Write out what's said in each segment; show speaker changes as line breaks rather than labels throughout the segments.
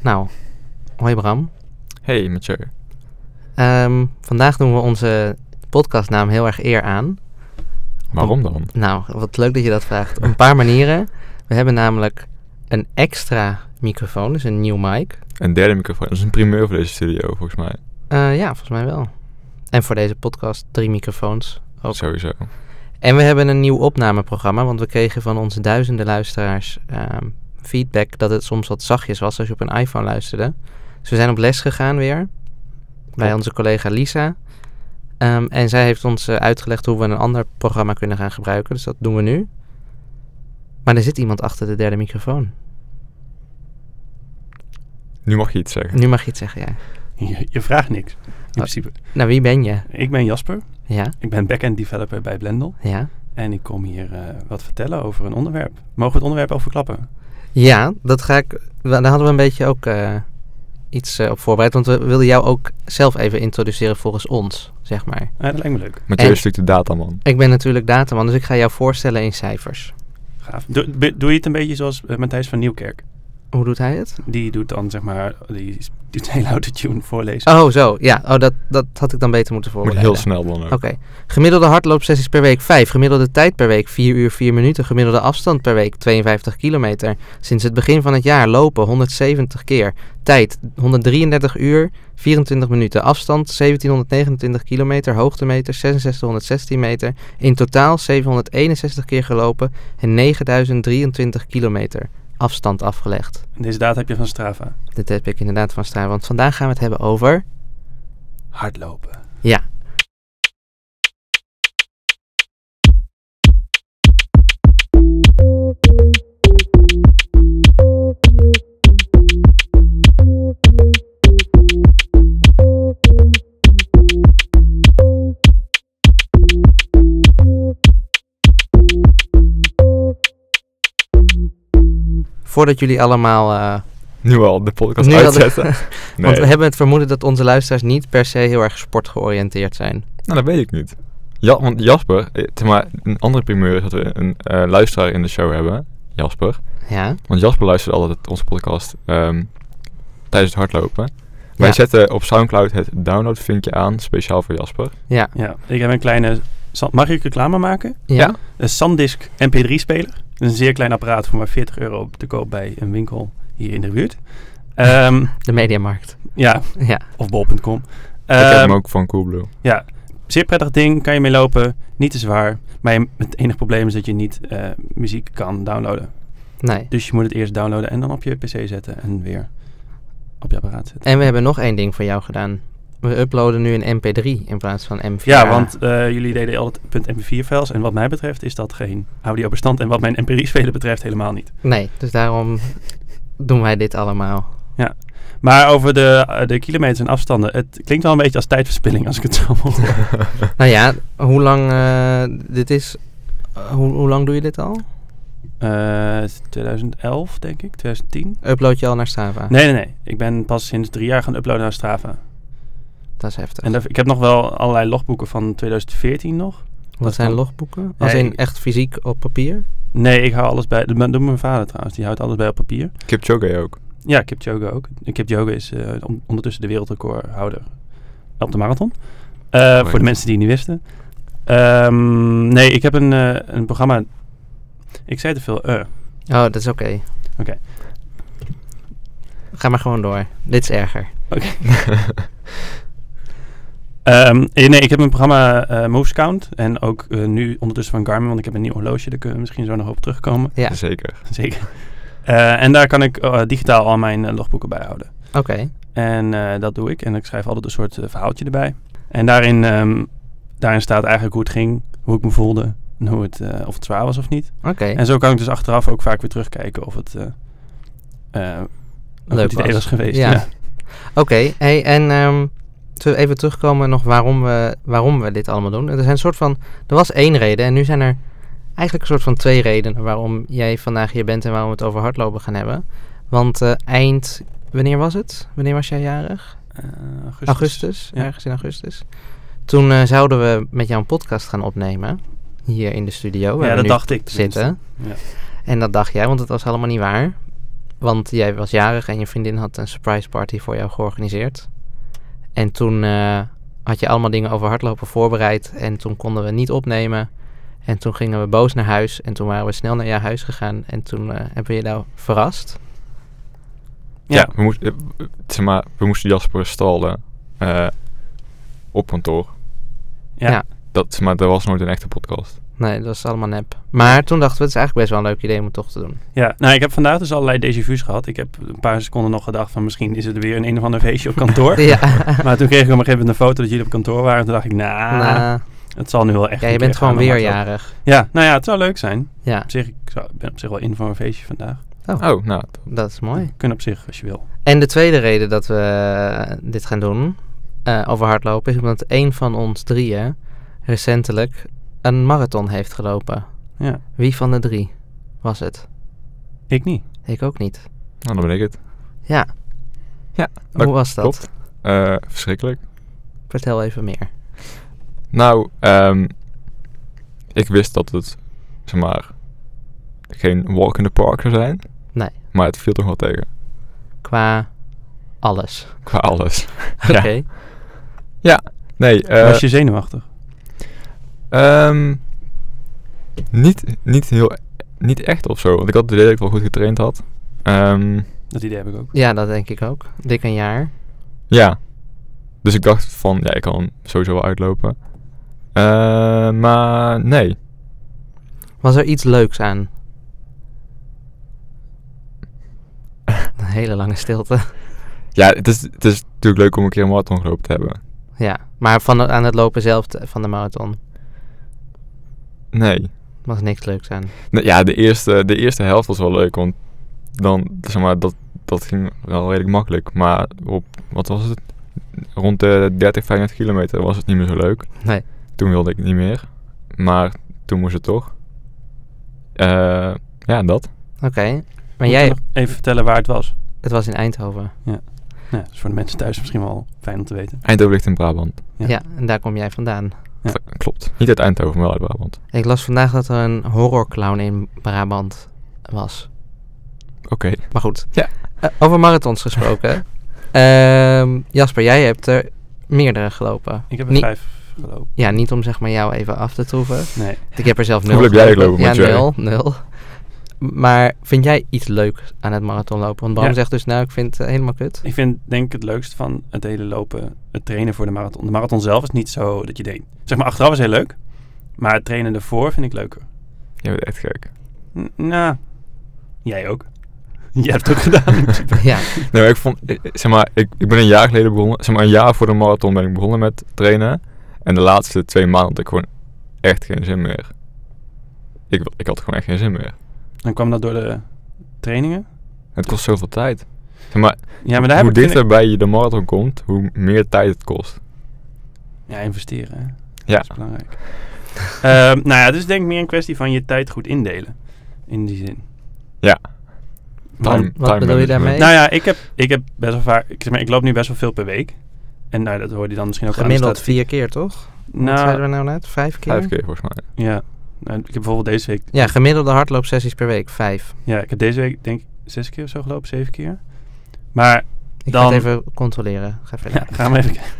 Nou, hoi Bram.
Hey Mathieu.
Ehm, vandaag doen we onze podcastnaam heel erg eer aan.
Waarom dan?
Nou, wat leuk dat je dat vraagt. Op een paar manieren. We hebben namelijk een extra microfoon, dus een nieuw mic.
Een derde microfoon. Dat is een primeur voor deze studio volgens mij.
Eh, ja, volgens mij wel. En voor deze podcast drie microfoons. Ook.
Sowieso.
En we hebben een nieuw opnameprogramma, want we kregen van onze duizenden luisteraars ehm, feedback dat het soms wat zachtjes was als je op een iPhone luisterde. Dus we zijn op les gegaan weer bij
Top.
onze collega Lisa. Ehm, en zij heeft ons eh, uitgelegd hoe we een ander programma kunnen gaan gebruiken, dus dat doen we nu. Maar er zit iemand achter de derde microfoon.
Nu mag je iets zeggen.
Nu mag je het zeggen, ja.
Je, je vraagt niks. In principe.
Nou, wie ben je?
Ik ben Jasper.
Ja,
Ik ben backend developer bij Blendel.
ja.
En ik kom hier eh, wat vertellen over een onderwerp. Mogen we het onderwerp overklappen?
Ja, dat ga ik. wel, Daar hadden we een beetje ook eh, iets eh, op voorbereid. Want we wilden jou ook zelf even introduceren volgens ons, zeg maar.
Eh, dat lijkt me leuk.
Mathieu
En-
is natuurlijk de dataman.
Ik ben natuurlijk dataman, dus ik ga jou voorstellen in cijfers.
Gaaf. Doe, be- doe je het een beetje zoals eh, Matthijs van Nieuwkerk?
Hoe doet hij het?
Die doet dan zeg maar, die is- doet een hele autotune voorlezen.
Oh, zo. Ja, oh, dat, dat had ik dan beter moeten
Moet
voorbereiden.
heel snel dan ook.
Oké. Gemiddelde hardloopsessies per week 5. Gemiddelde tijd per week 4 uur 4 minuten. Gemiddelde afstand per week 52 kilometer. Sinds het begin van het jaar lopen 170 keer. Tijd 133 uur 24 minuten. Afstand 1729 kilometer. Hoogtemeter 6616 meter. In totaal 761 keer gelopen en 9023 kilometer afstand afgelegd.
En Deze data heb je van Strava.
Dit heb ik inderdaad van Strava, want vandaag gaan we het hebben over...
Hardlopen.
Ja. Voordat jullie allemaal eh,
Nu al de podcast
Nu al de-
uitzetten. Nee,
want we hebben het vermoeden dat onze luisteraars niet per se heel erg sportgeoriënteerd zijn.
nou, dat weet ik niet. Ja, want Jasper, eh, zeg maar, een andere primeur is dat we een eh, luisteraar in de show hebben. Jasper.
Ja,
Want Jasper luistert altijd onze podcast ehm, tijdens het hardlopen.
Ja.
Wij zetten op Soundcloud het downloadvinkje aan, speciaal voor Jasper.
ja,
Ja, ik heb een kleine... San- Mag ik reclame maken?
ja.
Ja.
Een SanDisk MP3-speler. Een zeer klein apparaat voor maar 40 euro te koop bij een winkel hier in de buurt. Ehm,
De mediamarkt.
ja,
Ja,
of bol.com.
ik heb
Ehm,
hem ook van Coolblue.
Ja, zeer prettig ding. Kan je mee lopen. Niet te zwaar. Maar je- het enige probleem is dat je niet eh, muziek kan downloaden.
nee.
Dus je moet het eerst downloaden en dan op je pc zetten. En weer op je apparaat zetten.
En we hebben nog één ding voor jou gedaan. We uploaden nu een MP3 in plaats van MP4.
Ja, want eh, jullie deden altijd .mp4-files. En wat mij betreft is dat geen audiobestand. En wat mijn mp3-speler betreft helemaal niet.
Nee, dus daarom doen wij dit allemaal.
Maar over de, eh, de kilometers en afstanden. Het klinkt wel een beetje als tijdverspilling als ik het zo hoor.
Nou ja, hoe lang eh, dit is... eh, hoe, hoe lang doe je dit al?
Eh, 2011 denk ik, 2010.
Upload je al naar Strava?
Nee, nee, nee. Ik ben pas sinds drie jaar gaan uploaden naar Strava.
Dat is heftig.
En daar- ik heb nog wel allerlei logboeken van 2014 nog.
Wat
dat
zijn
kan-
logboeken? Als
Nee.
in echt fysiek op papier?
Nee, ik hou alles bij. Dat doet mijn vader trouwens. Die houdt alles bij op papier.
Kipchoge ook.
Ja, Kipchoge ook. Kipchoge is eh, on- ondertussen de wereldrecordhouder op de marathon. Eh, voor de mensen die het niet wisten. Ehm, nee, ik heb een, eh, een programma. Ik zei te veel. eh.
Oh, dat is oké.
Oké.
Ga maar gewoon door. Dit is erger.
Ehm, eh, nee, ik heb een programma eh Moves Count. En ook eh, nu ondertussen van Garmin, want ik heb een nieuw horloge. Daar kunnen we misschien zo nog op terugkomen.
Ja,
Zeker.
Zeker. Eh, en daar kan ik eh, digitaal al mijn eh, logboeken bij houden.
oké.
En eh, dat doe ik. En ik schrijf altijd een soort eh, verhaaltje erbij. En daarin, ehm, daarin staat eigenlijk hoe het ging, hoe ik me voelde en hoe het, eh, of het zwaar was of niet.
Oké,
En zo kan ik dus achteraf ook vaak weer terugkijken of het eh, eh, een
Leuk
goed idee
was.
was, geweest.
Ja.
Ja.
oké. Hey, en ehm, zullen we even terugkomen nog waarom we, waarom we dit allemaal doen. Er, zijn een soort van, er was één reden en nu zijn er eigenlijk een soort van twee redenen waarom jij vandaag hier bent en waarom we het over hardlopen gaan hebben. Want eh, eind, wanneer was het? Wanneer was jij jarig?
Eh, augustus.
Augustus,
Ja.
ergens in augustus. Toen eh, zouden we met jou een podcast gaan opnemen hier in de studio. waar
ja,
Oh, we
dat
nu
dacht ik. tenminste.
zitten.
Ja.
En dat dacht jij, want het was allemaal niet waar. Want jij was jarig en je vriendin had een surprise party voor jou georganiseerd. En toen eh, had je allemaal dingen over hardlopen voorbereid. En toen konden we niet opnemen. En toen gingen we boos naar huis. En toen waren we snel naar jouw huis gegaan. En toen eh, hebben we je nou verrast.
Ja.
we, moesten, eh, zeg maar, we moesten Jasper stallen eh, op kantoor.
Ja.
Ja.
Dat, zeg maar, dat was nooit een echte podcast.
Nee, dat is allemaal nep. Maar toen dachten we, het is eigenlijk best wel een leuk idee om het toch te doen.
Ja, nou, ik heb vandaag dus allerlei déjà vu's gehad. Ik heb een paar seconden nog gedacht van misschien is het weer een een of ander feestje op kantoor.
Ja.
Maar toen kreeg ik op een gegeven moment een foto dat jullie op kantoor waren. En toen dacht ik, nou,
Nou,
het zal nu wel echt
ja,
een
je bent
keer gaan,
gewoon
dan
weer
maakt het
jarig.
wel- Ja, nou ja, het zou leuk zijn.
Ja,
Op zich, ik zou, ben op zich wel in voor een feestje vandaag.
Oh, nou,
dat is mooi.
Kunnen op zich, als je wil.
En de tweede reden dat we eh, dit gaan doen eh, over hardlopen is omdat een van ons drieën recentelijk een marathon heeft gelopen.
Ja,
Wie van de drie was het?
ik niet.
Ik ook niet.
nou, dan ben ik het.
Ja.
Ja,
Hoe was dat?
klopt. Eh, verschrikkelijk.
Vertel even meer.
Nou, ehm, ik wist dat het, zeg maar, geen walk in the park zou zijn.
Nee.
Maar het viel toch wel tegen.
Qua alles.
Qua alles.
Oké.
Nee, eh,
Was je zenuwachtig?
ehm, niet, niet heel, niet echt of zo. Want ik had het idee dat ik wel goed getraind had. Ehm,
Dat idee heb ik ook.
Ja, dat denk ik ook. Dik een jaar.
ja. Dus ik dacht van, ja, ik kan hem sowieso wel uitlopen. Eh, maar nee.
Was er iets leuks aan? Een hele lange stilte.
Ja, het is, het is natuurlijk leuk om een keer een marathon gelopen te hebben.
Ja, maar van de- aan het lopen zelf te- van de marathon
Nee.
was niks leuks aan.
Nou ja, de eerste, de eerste helft was wel leuk, want dan, zeg maar, dat, dat ging wel redelijk makkelijk. Maar op, wat was het? Rond de 30, 35 kilometer was het niet meer zo leuk.
Nee.
Toen wilde ik het niet meer, maar toen moest het toch. Eh, ja, dat.
Oké. Maar
Moet
jij,
je nog even vertellen waar het was.
het was in Eindhoven.
Ja, dat is voor de mensen thuis misschien wel fijn om te weten.
Eindhoven ligt in Brabant.
Ja.
Ja.
en daar kom jij vandaan.
Ja.
K- Klopt. Niet uit Eindhoven, maar wel uit Brabant.
Ik las vandaag dat er een horrorclown in Brabant was.
Oké.
Maar goed.
Ja.
Eh, over marathons gesproken. Ehm, Jasper, jij hebt er meerdere gelopen.
Ik heb er
Niet-
vijf gelopen.
Ja, niet om zeg maar jou even af te troeven.
Nee.
Ik heb er zelf nul
Hoeveel heb jij
gelopen.
gelopen,
Ja,
Mathieu?
nul, nul. Maar vind jij iets leuks aan het marathonlopen? Want Bram
Ja.
zegt dus, nou, ik vind het eh, helemaal kut.
Ik vind denk ik het leukst van het hele lopen, het trainen voor de marathon. De marathon zelf is niet zo dat je deed. Zeg maar, achteraf is heel leuk. Maar het trainen ervoor vind ik leuker.
Je bent echt gek.
N- nou, jij ook. Jij hebt het ook gedaan. in principe.
ja,
Nee, maar ik vond, eh, eh, zeg maar, ik, ik ben een jaar geleden begonnen, zeg maar, een jaar voor de marathon ben ik begonnen met trainen. En de laatste twee maanden had ik gewoon echt geen zin meer. Ik, wil- ik had gewoon echt geen zin meer.
Dan kwam dat door de trainingen.
Het kost zoveel tijd. Zeg maar,
Ja, maar daar
hoe
heb ik... vind
dichter bij je de marathon komt, hoe meer tijd het kost.
ik- Ja, investeren. hè.
Ja.
Dat is belangrijk. Ehm, nou ja, het is denk ik meer een kwestie van je tijd goed indelen. In die zin.
Ja.
Want-
Time-
wat
time
bedoel je daarmee?
management.
Nou ja, ik heb, ik heb best wel vaak... Ik, zeg maar, ik loop nu best wel veel per week. En nou, dat hoor je dan misschien ook aan de
gemiddeld
statistiek.
vier keer, toch? Wat
Nou,
zeiden we nou net? Vijf keer?
Vijf keer volgens mij.
ja. Nou, ik heb bijvoorbeeld deze week...
Ja, gemiddelde hardloopsessies per week, vijf.
Ja, ik heb deze week denk ik zes keer of zo gelopen. Zeven keer. Maar
Ik
Dan-
ga het even controleren. Ga verder.
Ja, gaan we even kijken.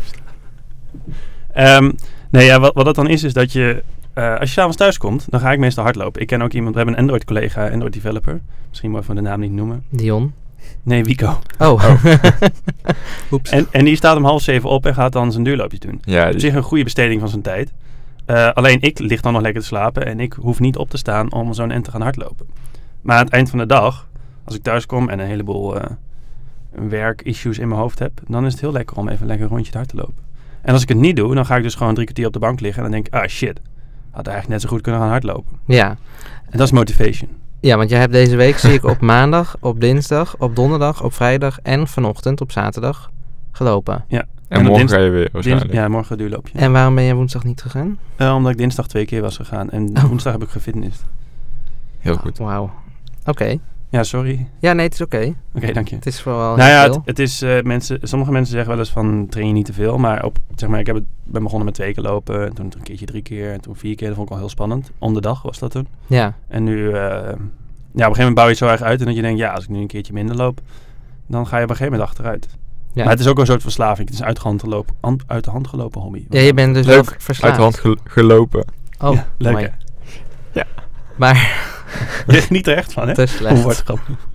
Ehm, nee, ja, wat, wat dat dan is, is dat je... eh, als je s'avonds thuis komt, dan ga ik meestal hardlopen. Ik ken ook iemand, we hebben een Android-collega, Android-developer. Misschien mogen we de naam niet noemen.
Dion.
Nee, Wico.
Oh. Oeps.
En, en die staat om half zeven op en gaat dan zijn duurloopjes doen.
Ja,
Op zich een goede besteding van zijn tijd. Eh, alleen ik lig dan nog lekker te slapen en ik hoef niet op te staan om zo'n end te gaan hardlopen. Maar aan het eind van de dag, als ik thuis kom en een heleboel eh, werkissues in mijn hoofd heb, dan is het heel lekker om even lekker een rondje te hard te lopen. En als ik het niet doe, dan ga ik dus gewoon drie kwartier op de bank liggen en dan denk ik, ah shit, had eigenlijk net zo goed kunnen gaan hardlopen.
ja.
En dat is motivation.
ja, want jij hebt deze week, zie ik, op maandag, op dinsdag, op donderdag, op vrijdag en vanochtend op zaterdag gelopen.
en
en op
morgen
dins-
ga je weer
Dins-
waarschijnlijk.
ja, morgen duurloopje.
En waarom ben jij woensdag niet gegaan?
Eh, omdat ik dinsdag twee keer was gegaan en
Oh.
woensdag heb ik gefitnessd.
Heel goed.
Wauw. Oké.
Ja, sorry.
Ja, nee, het is oké.
Oké, dank je.
Het is vooral
Nou
heel
ja,
veel.
het, het is, eh, mensen, sommige mensen zeggen wel eens van train je niet te veel. Maar, op, zeg maar ik heb het, ben begonnen met twee keer lopen. En toen een keertje drie keer. En toen vier keer. Dat vond ik al heel spannend. Om de dag was dat toen.
Ja.
En nu eh, op een gegeven moment bouw je het zo erg uit en dat je denkt, ja, als ik nu een keertje minder loop, dan ga je op een gegeven moment achteruit.
Ja.
Maar het is ook een soort verslaving. Het is een uit de hand gelopen, hand- uit de hand gelopen hobby.
Ja, je bent dus
Leuk.
wel
Uit
verslaafd.
de hand gel- gelopen.
Oh,
Ja, leuk
mooi.
hè?
Maar
Je geniet er echt van, hè?
te
Hoe
slecht.
wordt het grappig.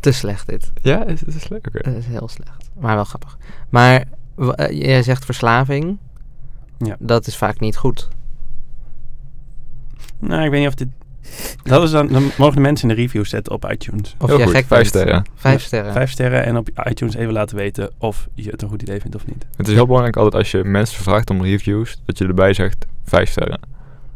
Te slecht dit.
Ja, is het is leuk. Oké.
Dat is heel slecht. Maar wel grappig. Maar w- eh, jij zegt verslaving.
Ja.
Dat is vaak niet goed.
Nou, ik weet niet of dit... Dat is dan, dan mogen de mensen in de review zetten op iTunes.
Of
Heel
jij
goed.
gek
Vijf
bent.
sterren.
Vijf
Ja,
sterren.
Vijf sterren en op iTunes even laten weten of je het een goed idee vindt of niet.
Het is heel belangrijk altijd als je mensen vraagt om reviews, dat je erbij zegt vijf sterren.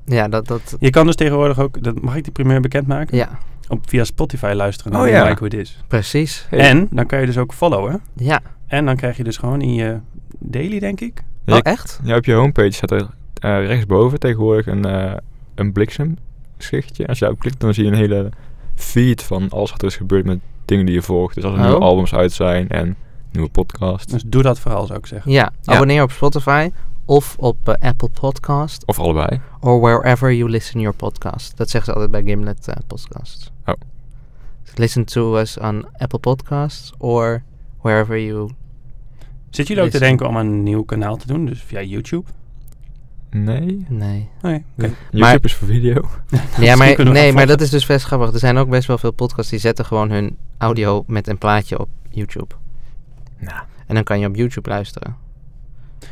Ja, dat... dat
Je kan dus tegenwoordig ook, dat mag ik die primeur bekendmaken?
ja,
Op, via Spotify luisteren en
Oh,
dan
ja.
kijken hoe het is.
precies.
Hey.
En dan kan je dus ook followen.
Ja.
En dan krijg je dus gewoon in je daily, denk ik.
Dus
Oh,
ik-
echt?
Ja, op je homepage staat er eh, rechtsboven tegenwoordig een, eh een bliksemschichtje. Als je daarop klikt, dan zie je een hele feed van alles wat er is gebeurd met dingen die je volgt. Dus als er
Oh.
nieuwe albums uit zijn en nieuwe podcast.
Dus doe dat vooral, zou ik zeggen.
Ja.
Ja.
Abonneer op Spotify of op eh, Apple Podcast
Of allebei.
or wherever you listen your podcast. Dat zeggen ze altijd bij Gimlet eh, podcasts. Dus
Oh.
Listen to us on Apple Podcasts or wherever you...
Zit jullie ook te
Listen.
denken om een nieuw kanaal te doen? Dus via YouTube?
Nee.
Nee.
Nee, oké.
YouTube
Maar-
is voor video.
Ja,
Misschien
maar,
kunnen we
nee,
gaan
maar
volgen.
dat is dus best grappig. Er zijn ook best wel veel podcasts die zetten gewoon hun audio met een plaatje op YouTube.
Nou.
En dan kan je op YouTube luisteren.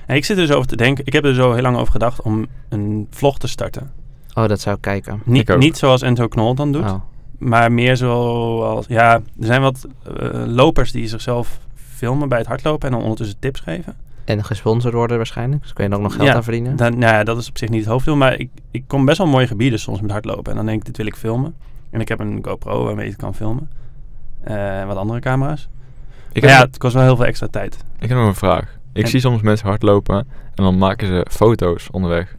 En ik zit er dus over te denken. Ik heb er zo heel lang over gedacht om een vlog te starten.
Oh, dat zou ik kijken.
Ik
Niet,
ook.
niet zoals Enzo Knol dan doet.
Oh.
Maar meer zoals... Ja, er zijn wat eh, lopers die zichzelf filmen bij het hardlopen en dan ondertussen tips geven.
En gesponsord worden waarschijnlijk. Dus kun je er ook nog geld
Ja,
aan verdienen.
Dan, nou ja, dat is op zich niet het hoofddoel. Maar ik, ik kom best wel mooie gebieden soms met hardlopen. En dan denk ik, dit wil ik filmen. En ik heb een GoPro waarmee ik het kan filmen. Eh, en wat andere camera's.
Ik
maar
heb,
ja, het kost wel heel veel extra tijd.
ik heb nog een vraag. Ik
En-
zie soms mensen hardlopen en dan maken ze foto's onderweg.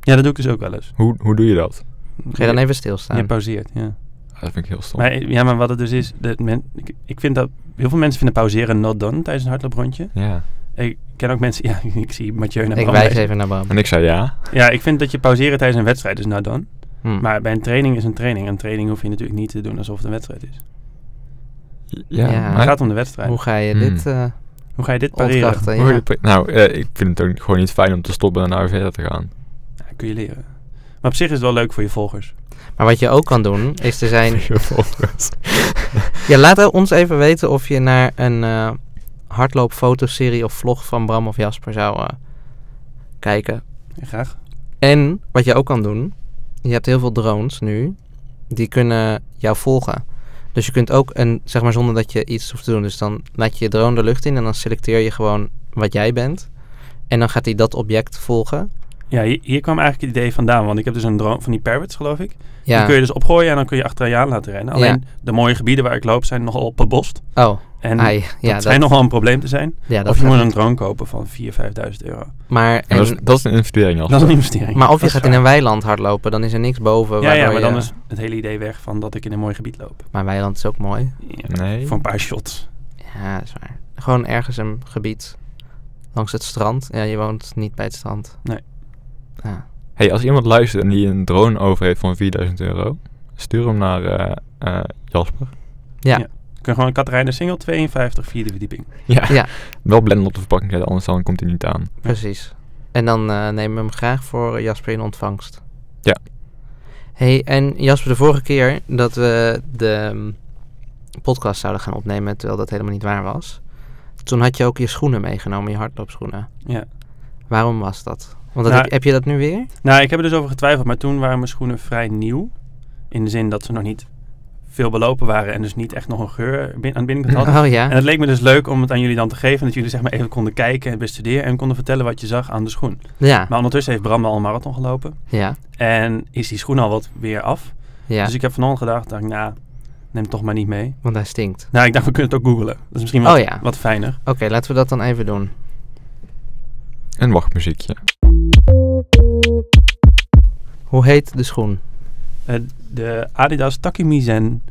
Ja, dat doe ik dus ook wel eens.
Hoe, hoe doe je dat?
Ga je dan even stilstaan.
Je pauzeert, ja.
Ah, dat vind ik heel stom.
Maar, ja, maar wat het dus is... Dat men, ik, ik vind dat... Heel veel mensen vinden pauzeren not done tijdens een hardlooprondje.
Ja.
Ik ken ook mensen... Ja, ik zie Mathieu naar
ik
Bram
wijs
wijzen.
even naar Bram.
En ik zei ja.
Ja, ik vind dat je pauzeren tijdens een wedstrijd is not done.
Hm.
Maar bij een training is een training. Een training hoef je natuurlijk niet te doen alsof het een wedstrijd is.
Ja.
Ja.
Het
maar-
gaat om de wedstrijd.
Hoe
Hoe,
ga je
Hmm.
dit eh
ga je dit pareren?
opdrachten?
Hoor je
Ja.
de pri- Nou, eh, ik vind het ook gewoon niet fijn om te stoppen en naar verder te gaan.
Ja, kun je leren. Maar op zich is het wel leuk voor je volgers.
Maar wat je ook kan doen, is er zijn...
Je volgers.
Ja, laat ons even weten of je naar een eh hardloopfotoserie of vlog van Bram of Jasper zou eh, kijken.
Ja, graag.
En wat je ook kan doen, je hebt heel veel drones nu, die kunnen jou volgen. Dus je kunt ook, een, zeg maar zonder dat je iets hoeft te doen, dus dan laat je je drone de lucht in en dan selecteer je gewoon wat jij bent. En dan gaat hij dat object volgen.
Ja, hier, hier kwam eigenlijk het idee vandaan. Want ik heb dus een drone van die parrots, geloof ik. Die
Ja.
kun je dus opgooien en dan kun je achter je aan laten rennen.
Ja.
Alleen de mooie gebieden waar ik loop zijn nogal bebost.
Oh,
En
ai,
dat,
ja, dat,
schijnt nogal een probleem te zijn.
ja, dat
of je
gaat
moet een
niet.
drone kopen van 4.000, 5.000 euro.
Maar,
En dat, is,
en-
dat is een investering
Dat is
al.
een investering.
maar of je
Dat is
gaat in
waar.
een weiland hardlopen, dan is er niks boven.
Ja, ja,
waardoor
maar dan
je-
is het hele idee weg van dat ik in een mooi gebied loop.
Maar weiland is ook mooi.
Ja,
Nee.
Voor een paar shots.
Ja, dat is waar. Gewoon ergens een gebied langs het strand. Ja, je woont niet bij het strand.
Nee.
Ja.
Hey, als iemand luistert en die een drone over heeft van 4000 euro, stuur hem naar eh, eh, Jasper.
Ja.
Ja. Je kunt gewoon Katrijnen Single 52, vierde verdieping.
Ja.
Ja.
Wel blenden op de verpakking zetten, anders dan komt hij niet aan.
Precies. En dan eh, nemen we hem graag voor Jasper in ontvangst.
Ja.
hey, en Jasper, de vorige keer dat we de mm, podcast zouden gaan opnemen, terwijl dat helemaal niet waar was, toen had je ook je schoenen meegenomen, je hardloopschoenen.
Ja.
Waarom was dat? Want dat
Nou,
heb, heb je dat nu weer?
Nou, ik heb er dus over getwijfeld, maar toen waren mijn schoenen vrij nieuw. In de zin dat ze nog niet veel belopen waren en dus niet echt nog een geur bin- aan de binnenkant hadden.
Oh
En
ja.
het leek me dus leuk om het aan jullie dan te geven. Dat jullie zeg maar even konden kijken en bestuderen en konden vertellen wat je zag aan de schoen.
Ja.
Maar ondertussen heeft Bram al een marathon gelopen.
Ja.
En is die schoen al wat weer af.
Ja.
Dus ik heb vanochtend gedacht, dacht, ik, nou, neem het toch maar niet mee.
Want hij stinkt.
Nou, ik dacht, we kunnen het ook googlen. Dat is misschien wat,
Oh ja.
wat fijner.
Oké, laten we dat dan even doen.
En wachtmuziekje.
Hoe heet de schoen?
Eh, de Adidas Takumi Zen.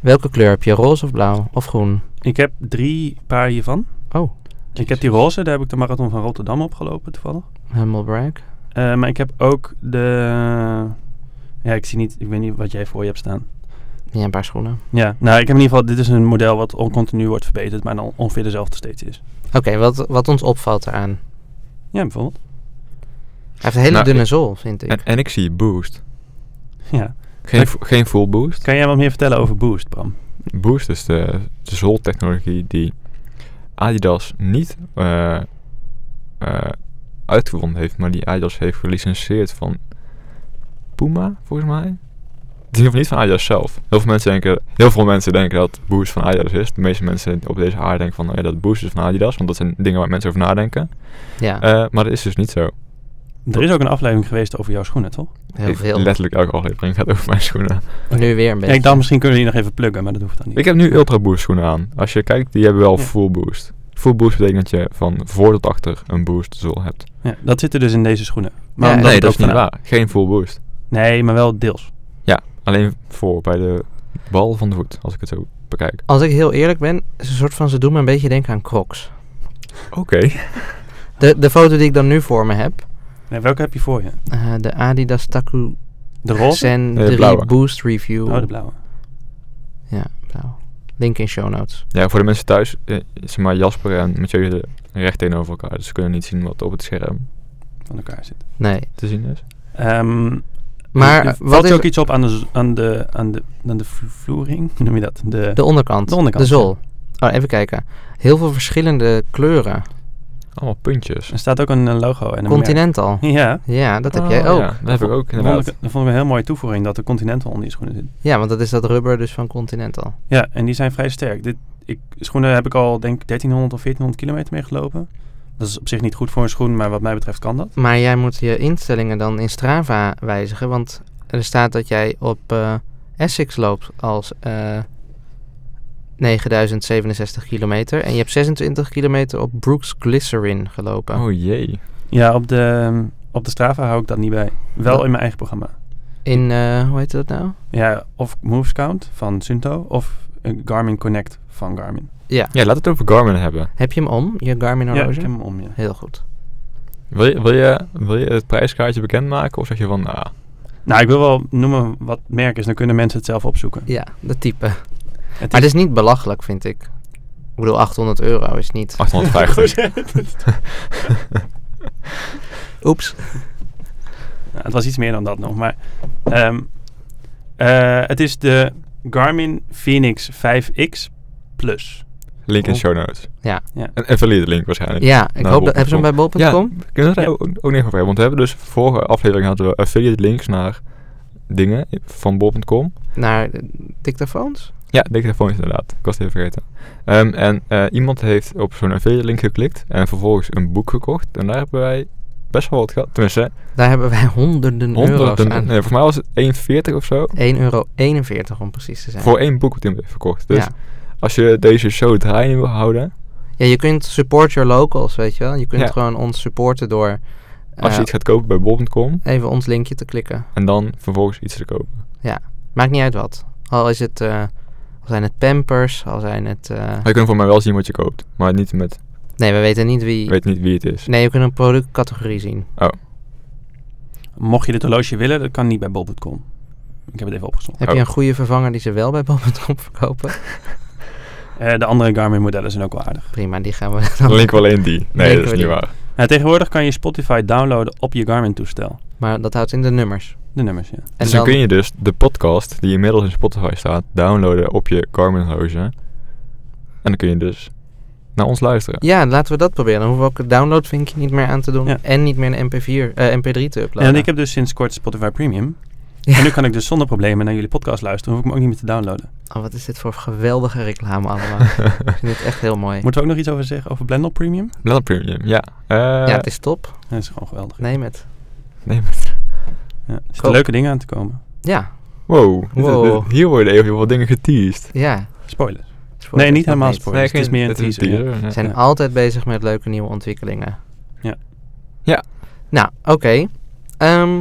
Welke kleur heb je? Roze of blauw of groen?
Ik heb drie paar hiervan.
Oh,
Ik heb die roze, daar heb ik de marathon van Rotterdam opgelopen toevallig.
humble brag.
Eh, maar ik heb ook de. Ja, ik zie niet. Ik weet niet wat jij voor je hebt staan.
Ja, een paar schoenen.
Ja, nou, ik heb in ieder geval, dit is een model wat on- continu wordt verbeterd, maar dan ongeveer dezelfde steeds is.
Oké, wat, wat ons opvalt eraan.
Ja, bijvoorbeeld.
Hij heeft een hele
Nou,
dunne
ik-
zool, vind ik.
En, en ik zie boost.
Ja.
Geen, fu- geen full boost.
Kan jij wat meer vertellen over Boost, Bram?
Boost is de, de zooltechnologie die Adidas niet eh, eh, uitgevonden heeft, maar die Adidas heeft gelicenseerd van Puma, volgens mij. Die hoeft niet van Adidas zelf. Heel veel, mensen denken, heel veel mensen denken dat Boost van Adidas is. De meeste mensen op deze aarde denken van oh ja, dat Boost is van Adidas, want dat zijn dingen waar mensen over nadenken.
ja,
Eh, maar dat is dus niet zo.
Er is ook een aflevering geweest over jouw schoenen, toch?
heel veel.
Letterlijk elke aflevering gaat over mijn schoenen.
Nu weer een
Ja,
beetje.
ik dacht, misschien kunnen we die nog even pluggen, maar dat hoeft dan niet.
Ik heb nu Ultra Boost schoenen aan. Als je kijkt, die hebben wel
Ja.
full boost. Full boost betekent dat je van voor tot achter een boost zool hebt.
Ja, dat zit er dus in deze schoenen. Maar
Ja,
omdat
nee,
het
dat is
ook
niet
vanuit-
waar. Geen full boost.
Nee, maar wel deels.
Alleen voor bij de bal van de voet, als ik het zo bekijk.
Als ik heel eerlijk ben, is een soort van ze doen me een beetje denken aan Crocs.
Oké.
De, de foto die ik dan nu voor me heb,
Nee, welke heb je voor je?
eh, de Adidas Taku
De roze?
Zen
Nee, de
3
Eh, blauwe.
Boost Review.
Oh, de blauwe.
Ja, blauw. Link in show notes.
Ja, voor de mensen thuis, eh, zeg maar Jasper en Mathieu zitten recht tegenover elkaar. Dus ze kunnen niet zien wat op het scherm
Van elkaar zit.
Nee.
te zien is.
Ehm,
Maar
er
eh,
valt
wat is
ook iets op aan de, z- aan de, aan de, aan de vlo- vloering? Hoe noem je dat? De,
de onderkant?
de onderkant,
De zool. Oh, even kijken. Heel veel verschillende kleuren.
Allemaal puntjes.
er staat ook een eh, logo en een
Continental.
merk. Ja.
Ja, dat heb
Oh,
jij ook.
Ja, dat heb ik ook
Dat vond,
inderdaad.
ik, dat vond ik een heel mooie toevoeging dat de Continental onder je schoenen zit.
Ja, want dat is dat rubber dus van Continental.
Ja, en die zijn vrij sterk. Dit, ik, schoenen heb ik al denk ik 1300 of 1400 kilometer mee gelopen. Dat is op zich niet goed voor een schoen, maar wat mij betreft kan dat.
Maar jij moet je instellingen dan in Strava wijzigen, want er staat dat jij op eh, Essex loopt als eh 9067 kilometer en je hebt 26 kilometer op Brooks Glycerin gelopen.
Oh jee.
Ja, op de, op de Strava hou ik dat niet bij. Wel in mijn eigen programma.
In, eh, hoe heet dat nou?
Ja, of Moves Count van Sunto of een Garmin Connect van Garmin.
Ja.
Ja, laat het over Garmin hebben.
Heb je hem om, je Garmin
Ja,
horloge?
ik heb hem om, ja.
Heel goed.
Wil je, wil, je, wil je het prijskaartje bekendmaken of zeg je van, nou,
Nou, ik wil wel noemen wat het merk is, dan kunnen mensen het zelf opzoeken.
Ja, dat type.
Het
Maar het is niet belachelijk, vind ik. Ik bedoel, 800 euro is niet...
850.
Oeps.
Ja, Nou, het was iets meer dan dat nog, maar... ehm, eh, het is de Garmin Phoenix 5X Plus.
Link in show notes.
Ja.
Ja.
Een, een valide link waarschijnlijk.
Ja, ik
Naar
hoop dat... Hebben ze hem bij bol.com?
Ja, Kunnen we daar
Nou, Ja.
ook, ook nog over hebben? Want we hebben dus vorige aflevering hadden we affiliate links naar dingen van bol.com.
Naar eh, dictafoons?
Ja, dictafoons inderdaad. Ik was het even vergeten. Ehm, en eh, iemand heeft op zo'n affiliate link geklikt en vervolgens een boek gekocht. En daar hebben wij best wel wat gehad. Tenminste,
Daar hebben wij honderden,
honderden.
euro's aan.
Nee, volgens mij was het 1,40 of zo.
1,41 euro om precies te zijn.
Voor één boek die hij heeft verkocht. Dus
ja.
als je deze show draaiende wil houden,
ja, je kunt support your locals, weet je wel. Je kunt
Ja.
gewoon ons supporten door
als je
eh,
iets gaat kopen bij bol.com
even ons linkje te klikken.
en dan vervolgens iets te kopen.
Maakt niet uit wat. Al is het, eh, al zijn het pampers, al zijn het... eh,
Maar je kunt voor mij wel zien wat je koopt, maar niet met,
nee, we weten niet wie...
je weet niet wie het is.
Nee, we kunnen een productcategorie zien.
Mocht je dit horloge willen, dat kan niet bij bol.com. Ik heb het even opgezocht.
Heb
Oh.
je een goede vervanger die ze wel bij bol.com verkopen?
Eh, de andere Garmin modellen zijn ook wel aardig.
Prima, die gaan we dan...
Dan linken we alleen die. Nee,
Linken
dat is
we
niet
die.
waar.
Nou, tegenwoordig kan je Spotify downloaden op je Garmin toestel.
Maar dat houdt in de nummers.
De nummers, ja.
En
dus dan,
dan,
kun je dus de podcast die inmiddels in Spotify staat, downloaden op je Garmin horloge. En dan kun je dus naar ons luisteren.
Ja, laten we dat proberen. Dan hoeven we ook het downloadvinkje niet meer aan te doen.
Ja.
En niet meer een MP4, eh, MP3 te uploaden.
En ik heb dus sinds kort Spotify Premium.
Ja.
En nu kan ik dus zonder problemen naar jullie podcast luisteren. Hoef ik me ook niet meer te downloaden.
Oh, wat is dit voor geweldige reclame allemaal. ik vind het echt heel mooi.
Moeten we ook nog iets over zeggen? Over Blendel Premium?
Blender Premium, ja. Eh,
ja, het is top.
Dat is gewoon geweldig.
Neem het.
nee, maar-
Ja, er zitten
Cool.
Dus leuke dingen aan te komen.
Ja,
wow. dit- dit-
Wow.
hier worden even wat dingen geteased.
ja.
Spoilers.
Spoilers
nee, niet
nog
helemaal spoilers.
geen-
het is meer een
het
teaser. ja.
teaser,
Ze
ja.
zijn
Ja.
altijd bezig met leuke nieuwe ontwikkelingen.
Ja.
Ja.
Nou, oké. Ehm,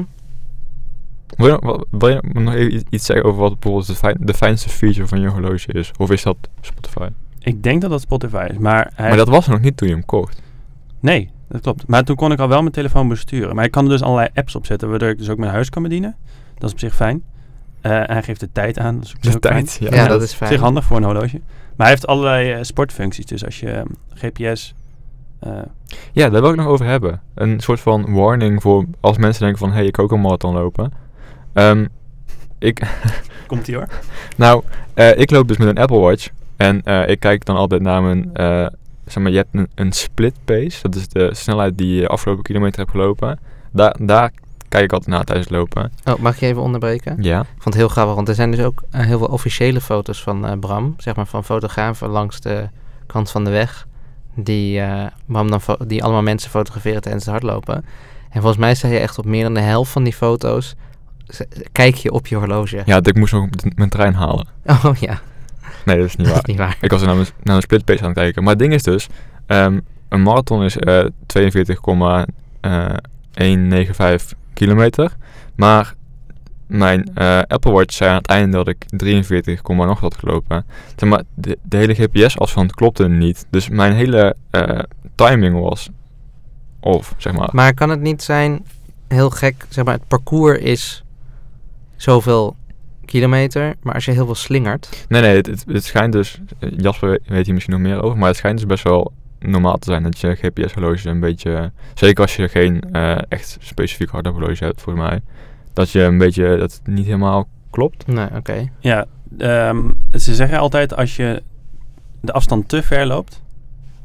Wil je, nog- wil je nog even iets- iets zeggen over wat bijvoorbeeld de, fijn- de fijnste feature van je horloge is? Of is dat Spotify?
Ik denk dat dat Spotify is, maar... Hij...
Maar dat was er nog niet toen je hem kocht.
Nee, dat klopt. Maar toen kon ik al wel mijn telefoon besturen. Maar ik kan er dus allerlei apps op zetten, waardoor ik dus ook mijn huis kan bedienen. Dat is op zich fijn. Eh, en hij geeft de tijd aan. Dat is ook
De
heel klein.
tijd.
Ja,
Ja,
Ja,
dat
dat
is
Op
fijn.
zich handig voor een horloge. Maar hij heeft allerlei eh, sportfuncties. Dus als je ehm, GPS... eh,
Ja, daar wil ik nog over hebben. Een soort van warning voor als mensen denken van... hé, hey, ik wil ook een marathon lopen. Ehm, ik,
Komt-ie hoor.
Nou, eh, ik loop dus met een Apple Watch. En eh, ik kijk dan altijd naar mijn... eh, zeg maar, je hebt een, een split pace. Dat is de snelheid die je de afgelopen kilometer hebt gelopen. Daar, daar kijk ik altijd naar tijdens het lopen.
Oh, mag ik je even onderbreken?
Ja.
Ik vond het heel grappig, want er zijn dus ook eh, heel veel officiële foto's van eh, Bram. Zeg maar van fotografen langs de kant van de weg. Die, eh, Bram dan fo- die allemaal mensen fotograferen tijdens het hardlopen. En volgens mij sta je echt op meer dan de helft van die foto's. z- Kijk je op je horloge.
Ja, ik moest nog d- mijn trein halen.
Oh ja,
Nee, dat is niet
dat is
waar.
niet waar.
ik was naar mijn, naar mijn split pace aan het kijken. Maar het ding is dus... ehm, een marathon is eh 42,195 kilometer. Maar mijn eh, Apple Watch zei aan het einde dat ik 43, komma nog had gelopen. Zeg maar, de, de hele GPS-afstand klopte niet. Dus mijn hele eh, timing was off, zeg maar.
Maar kan het niet zijn, heel gek, zeg maar, het parcours is zoveel kilometer. Maar als je heel veel slingert.
Nee, nee, het, het, het schijnt dus... Jasper weet hier misschien nog meer over, maar het schijnt dus best wel normaal te zijn dat je GPS-horloges een beetje... Zeker als je geen eh, echt specifiek harde horloge hebt, volgens mij. Dat je een beetje... Dat het niet helemaal klopt.
Nee, oké.
Ja, ehm, ze zeggen altijd als je de afstand te ver loopt...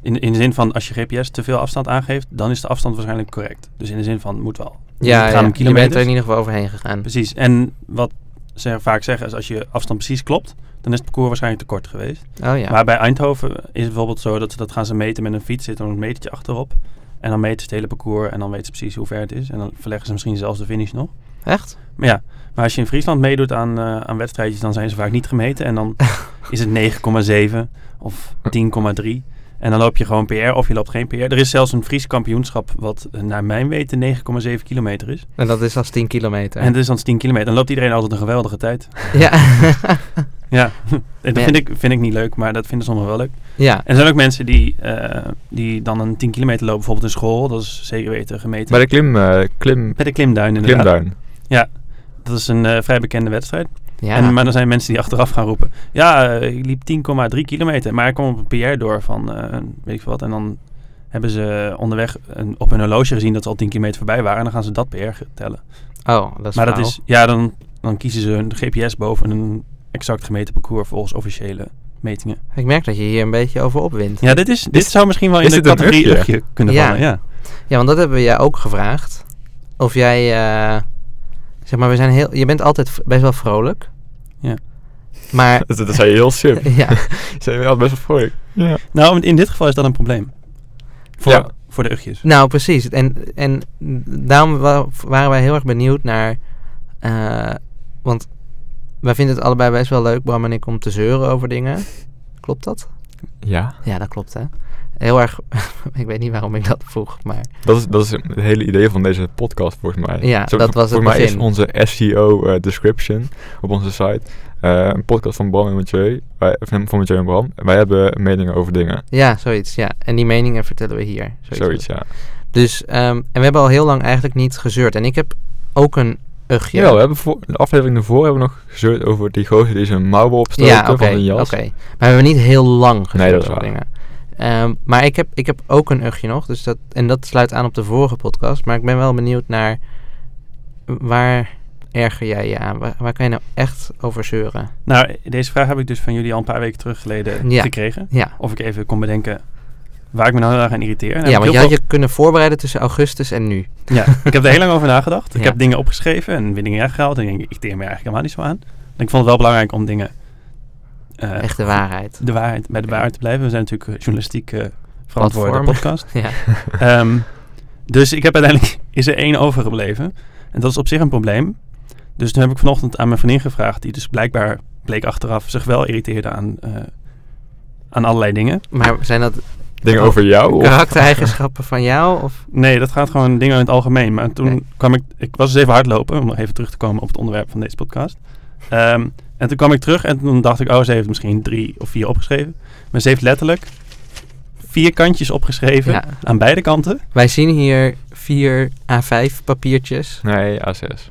In, in de zin van als je GPS te veel afstand aangeeft, dan is de afstand waarschijnlijk correct. Dus in de zin van moet wel.
Ja,
het
ja.
gaat
je
om
bent er
kilometers.
in ieder geval overheen gegaan.
Precies. En wat ze vaak zeggen is als je afstand precies klopt, dan is het parcours waarschijnlijk te kort geweest.
Oh ja.
Maar bij Eindhoven is het bijvoorbeeld zo dat ze dat gaan ze meten met een fiets. Zit er een metertje achterop. En dan meten ze het hele parcours en dan weten ze precies hoe ver het is. En dan verleggen ze misschien zelfs de finish nog.
Echt?
Maar ja, maar als je in Friesland meedoet aan, eh, aan wedstrijdjes, dan zijn ze vaak niet gemeten. En dan is het 9,7 of 10,3. En dan loop je gewoon PR of je loopt geen PR. Er is zelfs een Fries kampioenschap wat eh, naar mijn weten 9,7 kilometer is.
En dat is als 10 kilometer.
En dus- dat is dan 10 kilometer. Dan loopt iedereen altijd een geweldige tijd.
Ja.
Ja, dat
Ja.
vind ik, vind ik niet leuk, maar dat vinden sommigen wel leuk.
ja.
En er zijn ook mensen die, eh, die dan een 10 kilometer lopen, bijvoorbeeld in school. Dat is zeker weten gemeten.
Bij de klim, eh, klim,
Bij de klimduin inderdaad.
klimduin.
Dat is een eh, vrij bekende wedstrijd.
Ja.
En, maar dan zijn mensen die achteraf gaan roepen. Ja, eh, ik liep 10,3 kilometer, maar ik kwam op een PR door van eh, weet ik veel wat. En dan hebben ze onderweg een, op hun horloge gezien dat ze al 10 kilometer voorbij waren. En dan gaan ze dat PR tellen.
oh, dat is
maar dat
flauw.
is, ja, dan, dan kiezen ze hun GPS boven een exact gemeten parcours volgens officiële metingen.
Ik merk dat je hier een beetje over opwint. Ja.
Ja, dit, is, dit
Is-
zou misschien wel in
is
de
dit een
categorie
ugje?
ugje kunnen
Ja.
vallen. Ja.
want dat hebben we jou ook gevraagd. Of jij, eh, zeg maar, we zijn heel, je bent altijd v- best wel vrolijk.
Ja.
Maar,
Dat, dat zei je heel sub.
ja,
zei je wel best wel vrolijk. Ja.
Nou, in dit geval is dat een probleem. Voor,
Ja.
voor de ugjes.
nou precies. En, en daarom wa- waren wij heel erg benieuwd naar, eh, want wij vinden het allebei best wel leuk, Bram en ik, om te zeuren over dingen. Klopt dat?
Ja,
Ja, dat klopt, hè. Heel erg, ik weet niet waarom ik dat vroeg, maar
dat is, dat is het hele idee van deze podcast volgens mij.
Ja,
Zo-
dat was het
Voor mij
begin.
is onze SEO eh, description op onze site eh, een podcast van Bram en Mathieu. Wij, of van Mathieu en Bram. Wij hebben meningen over dingen.
ja, zoiets, ja. En die meningen vertellen we hier.
Zoiets, ja.
Dus, ehm, en we hebben al heel lang eigenlijk niet gezeurd. En ik heb ook een ugje.
Jawel, we hebben voor, de aflevering daarvoor hebben we nog gezeurd over die gozer die zijn mouwen opstoten
ja, oké,
van een jas.
oké. Maar we hebben niet heel lang gezeurd
dat is
over
waar.
dingen. Ehm, maar ik heb, ik heb ook een ugje nog. Dus dat, en dat sluit aan op de vorige podcast. Maar ik ben wel benieuwd naar... Waar erger jij je aan? Waar, waar kan je nou echt over zeuren?
Nou, deze vraag heb ik dus van jullie al een paar weken terug geleden
Ja.
gekregen.
Ja,
Of ik even kon bedenken waar ik me nou heel erg aan irriteer. En
ja
heb ik
want je
heel
had je kunnen voorbereiden tussen augustus en nu.
veel- ja, ik heb er heel lang over nagedacht. Ik
Ja.
heb dingen opgeschreven en weer dingen weggehaald. En ik denk, ik teer me eigenlijk helemaal niet zo aan. En ik vond het wel belangrijk om dingen... eh,
Echt de waarheid.
de waarheid, bij de waarheid te blijven. We zijn natuurlijk eh, journalistiek eh verantwoorde
Platform.
podcast.
Ja.
Ehm, dus ik heb uiteindelijk is er één overgebleven. En dat is op zich een probleem. Dus toen heb ik vanochtend aan mijn vriendin gevraagd, die dus blijkbaar bleek achteraf zich wel irriteerde aan, eh, aan allerlei dingen.
Maar zijn dat
Dingen over jou?
Oh.
of-
karaktereigenschappen van jou? Of?
Nee, dat gaat gewoon dingen in het algemeen. Maar toen
Oké.
kwam ik, ik was dus even hardlopen, om nog even terug te komen op het onderwerp van deze podcast. Ehm, en toen kwam ik terug en toen dacht ik, oh, ze heeft misschien drie of vier opgeschreven. Maar ze heeft letterlijk vier kantjes opgeschreven
Ja.
aan beide kanten.
Wij zien hier vier A5 papiertjes.
Nee, A6.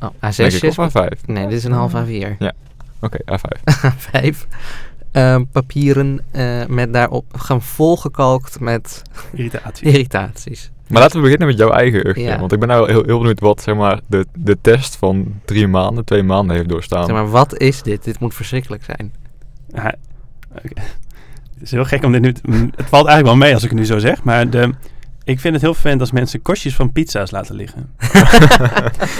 Oh, A6
Denk ik,
is...
of A5.
Nee, dit is een half
Oh.
A4.
Oké, A5.
A5. Ehm, papieren eh, met daarop gaan volgekalkt met
Irritatie.
irritaties.
Maar laten we beginnen met jouw eigen jeugd.
Ja.
Want ik ben nou heel, heel benieuwd wat zeg maar, de, de test van drie maanden, twee maanden heeft doorstaan.
Oh.
Zeg maar, wat is dit? Dit moet verschrikkelijk zijn.
Ja, oké. Het is heel gek om dit nu... te- mm, het valt eigenlijk wel mee als ik het nu zo zeg, maar de, ik vind het heel vervelend als mensen kostjes van pizza's laten liggen.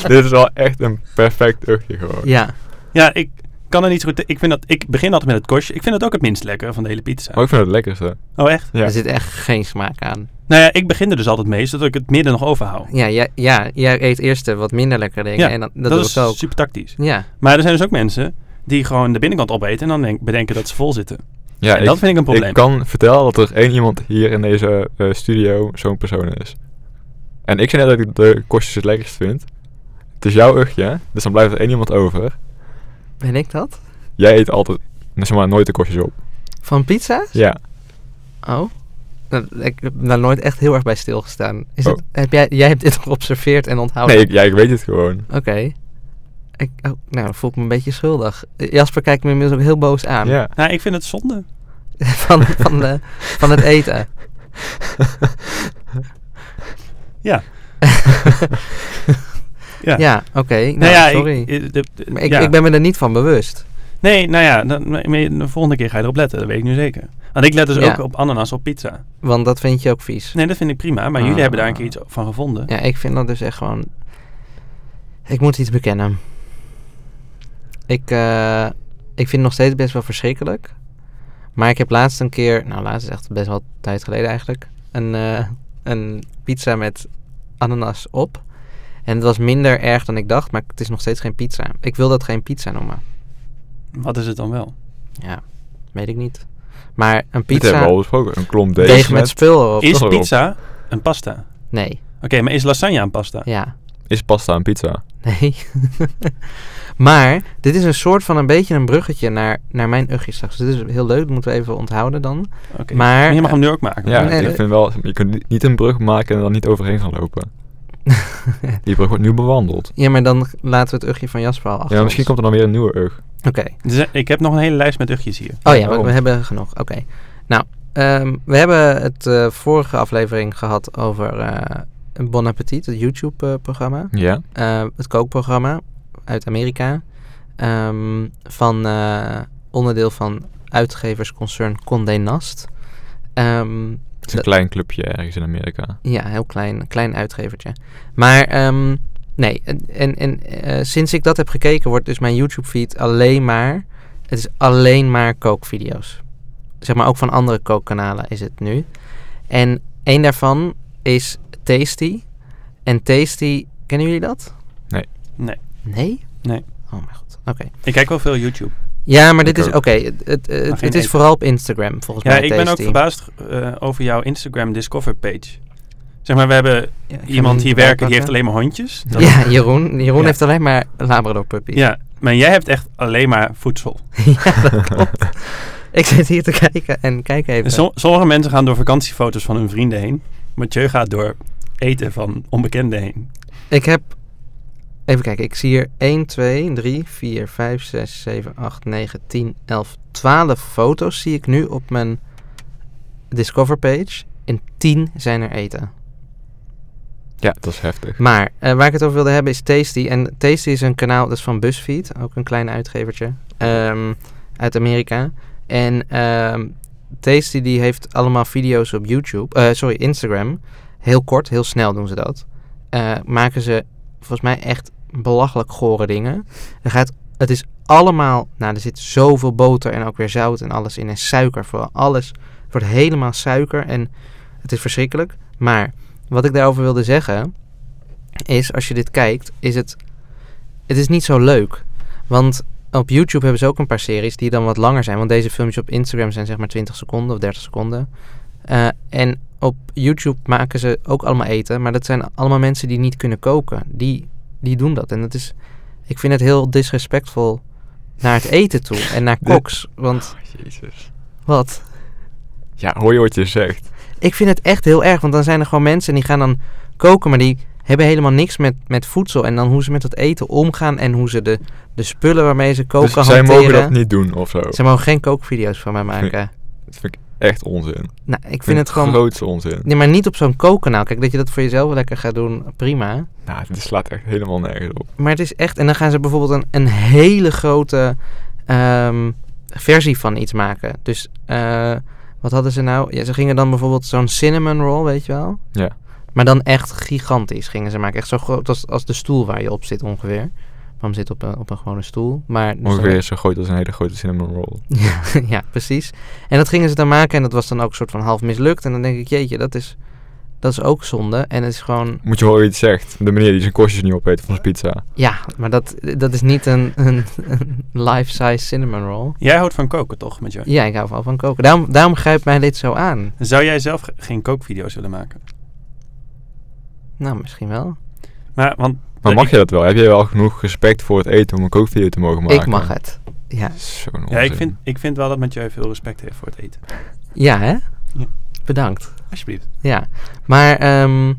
Dit is wel echt een perfect jeugdje gewoon.
Ja,
Ja, ik kan er niet zo goed... Ik, vind dat, ik begin altijd met het kostje. Ik vind dat ook het minst lekker van de hele pizza.
Maar ik vind het het lekkerste.
Oh, echt?
Ja.
er zit echt geen smaak aan.
Nou ja, ik begin er dus altijd mee, zodat ik het midden nog overhoud.
Ja, ja, ja jij eet eerst de wat minder lekkere dingen.
Ja,
en dan, dat,
Dat,
doe
is
ik ook.
super tactisch.
Ja,
Maar er zijn dus ook mensen die gewoon de binnenkant opeten en dan denk- bedenken dat ze vol zitten.
Ja,
en dat vind ik een probleem.
Ik kan vertellen dat er één iemand hier in deze eh, studio zo'n persoon is. En ik zei net dat ik de kostjes het lekkerst vind. Het is jouw uchtje, hè? dus dan blijft er één iemand over.
ben ik dat?
Jij eet altijd, nou, zeg maar, nooit de kostjes op.
Van pizza?
Ja,
Oh. Nou, Ik heb daar nooit echt heel erg bij stilgestaan. Is
Oh.
het, heb jij, jij hebt dit geobserveerd en onthouden?
nee, ik, ja, ik weet het gewoon.
Oké. Ik, oh, nou, dan voel ik me een beetje schuldig. Eh, Jasper kijkt me inmiddels ook heel boos aan.
Ja.
Nou, ik vind het zonde.
Van, van, de, van het eten.
Ja. ja.
Ja, oké. Nou,
Nou ja,
sorry.
Ik, eh, de- de-
maar ik,
ja.
ik ben me er niet van bewust.
Nee, nou ja, dan, maar- maar de volgende keer ga je erop letten, dat weet ik nu zeker. Want ik let dus
Ja.
ook op ananas op pizza.
Want dat vind je ook vies.
Nee, dat vind ik prima, maar jullie
Ah.
hebben daar een keer iets van gevonden.
Ja, ik vind dat dus echt gewoon... Ik moet iets bekennen. Ik, eh, ik vind het nog steeds best wel verschrikkelijk. Maar ik heb laatst een keer... Nou, laatst is echt best wel een tijd geleden eigenlijk. Een, eh, een pizza met ananas op. En het was minder erg dan ik dacht, maar het is nog steeds geen pizza. Ik wil dat geen pizza noemen.
Wat is het dan wel?
Ja, weet ik niet. Maar een
Dit hebben we
pizza
al besproken. Een klomp deeg
deeg met
met...
spul op.
toch
Is
erop.
pizza een pasta? Oké,
Nee,
maar is lasagne een pasta?
ja.
Is pasta en pizza?
Nee. maar dit is een soort van een beetje een bruggetje naar, naar mijn ugje straks. Dus dit is heel leuk, dat moeten we even onthouden dan.
Oké.
Maar-
je mag hem nu ook maken.
Ja,
Nee,
ik
dat-
vind wel, je kunt ni- niet een brug maken en dan niet overheen gaan lopen. Die brug wordt nu bewandeld.
ja, maar dan laten we het ugje van Jasper al achter
Ja, misschien
ons.
komt er dan weer een nieuwe ug.
Oké.
Dus, eh, ik heb nog een hele lijst met ugjes hier.
Oh ja, we,
Oh.
we hebben genoeg. Oké. Nou, ehm, we hebben het eh, vorige aflevering gehad over eh, Bon Appetit, het YouTube-programma.
Ja.
eh, het kookprogramma uit Amerika. ehm, van eh, onderdeel van uitgeversconcern Condé Nast. Ehm,
Het is
Dat-
een klein clubje ergens in Amerika.
ja, heel klein, klein uitgevertje. Maar ehm, nee, en, en, en eh, sinds ik dat heb gekeken wordt dus mijn YouTube-feed alleen maar... Het is alleen maar kookvideo's. Zeg maar ook van andere kookkanalen is het nu. En één daarvan is Tasty. En Tasty, kennen jullie dat?
Nee.
Nee.
Nee?
Nee.
Oh mijn god, oké.
Ik kijk wel veel YouTube.
Ja, maar dit
Ik
is, oké,
ook.
het, het, het,
Maar
het
geen
is
eten.
vooral op Instagram volgens
Ja,
mij
ik ben ook
Tasty.
verbaasd eh, over jouw Instagram Discover page. Zeg maar, we hebben
Ja, ik ga hem
iemand hier
erbij
werken die heeft
pakken.
alleen maar hondjes. Dat-
Ja, Jeroen. Jeroen
Ja.
heeft alleen maar Labrador puppies.
ja, maar jij hebt echt alleen maar voedsel.
Ja, dat klopt. ik zit hier te kijken en kijk even.
Som- sommige mensen gaan door vakantiefoto's van hun vrienden heen. Mathieu gaat door eten van onbekenden heen.
Ik heb... Even kijken, ik zie hier 1, 2, 3, 4, 5, 6, 7, 8, 9, 10, 11, 12 foto's zie ik nu op mijn Discover page. En 10 zijn er eten.
Ja, dat is heftig.
Maar eh, waar ik het over wilde hebben is Tasty. En Tasty is een kanaal dus van BuzzFeed, ook een klein uitgevertje ehm, uit Amerika. En ehm, Tasty die heeft allemaal video's op YouTube, eh, sorry, Instagram. Heel kort, heel snel doen ze dat. Eh, maken ze volgens mij echt belachelijk gore dingen. Er gaat, het is allemaal, nou er zit zoveel boter en ook weer zout en alles in. En suiker vooral, alles. Het wordt helemaal suiker en het is verschrikkelijk. Maar wat ik daarover wilde zeggen is, als je dit kijkt, is het, het is niet zo leuk. Want op YouTube hebben ze ook een paar series die dan wat langer zijn. Want deze filmpjes op Instagram zijn zeg maar 20 seconden of 30 seconden. Eh, en op YouTube maken ze ook allemaal eten. Maar dat zijn allemaal mensen die niet kunnen koken. Die, die doen dat. En dat is, ik vind het heel disrespectvol naar het eten toe. En naar
Dit-
koks. Want
Jezus.
wat?
Ja, hoor je wat je zegt?
Ik vind het echt heel erg, want dan zijn er gewoon mensen die gaan dan koken, maar die hebben helemaal niks met, met voedsel. En dan hoe ze met dat eten omgaan en hoe ze de, de spullen waarmee ze koken
Dus zij
hanteren.
mogen dat niet doen of zo.
Ze mogen geen kookvideo's van mij maken.
Dat vind ik echt onzin.
Nou, ik vind het gewoon...
grootste onzin.
Nee, maar niet op zo'n kookkanaal. Kijk, dat je dat voor jezelf lekker gaat doen, prima.
Nou, dit slaat echt helemaal nergens op.
Maar het is echt... En dan gaan ze bijvoorbeeld een, een hele grote ehm, versie van iets maken. Dus eh, wat hadden ze nou? Ja, ze gingen dan bijvoorbeeld zo'n cinnamon roll, weet je wel?
Ja.
Maar dan echt gigantisch gingen ze maken. Echt zo groot als, als de stoel waar je op zit ongeveer. Mam zit op een, op een gewone stoel. Maar dus dan-
Ongeveer zo groot als een hele grote cinnamon roll.
Ja, ja, precies. En dat gingen ze dan maken en dat was dan ook een soort van half mislukt. En dan denk ik, jeetje, dat is, dat is ook zonde. En het is gewoon,
Moet je horen wie het zegt. De meneer die zijn korstjes niet opeet van zijn pizza.
ja, maar dat, dat is niet een, een, een life-size cinnamon roll.
Jij houdt van koken toch, met jou?
Ja, ik hou wel van koken. Daarom, daarom grijpt mij dit zo aan.
Zou jij zelf ge- geen kookvideo's willen maken?
Nou, misschien wel.
Maar, want
Maar
Ja,
mag
ik-
je dat wel? Heb je wel genoeg respect voor het eten om een kookvideo te mogen maken?
Ik mag het. Ja,
Zo'n onzin.
ja, ik, vind, ik vind wel dat Mathieu veel respect heeft voor het eten.
ja hè?
Ja.
Bedankt.
Alsjeblieft.
Ja, maar ehm,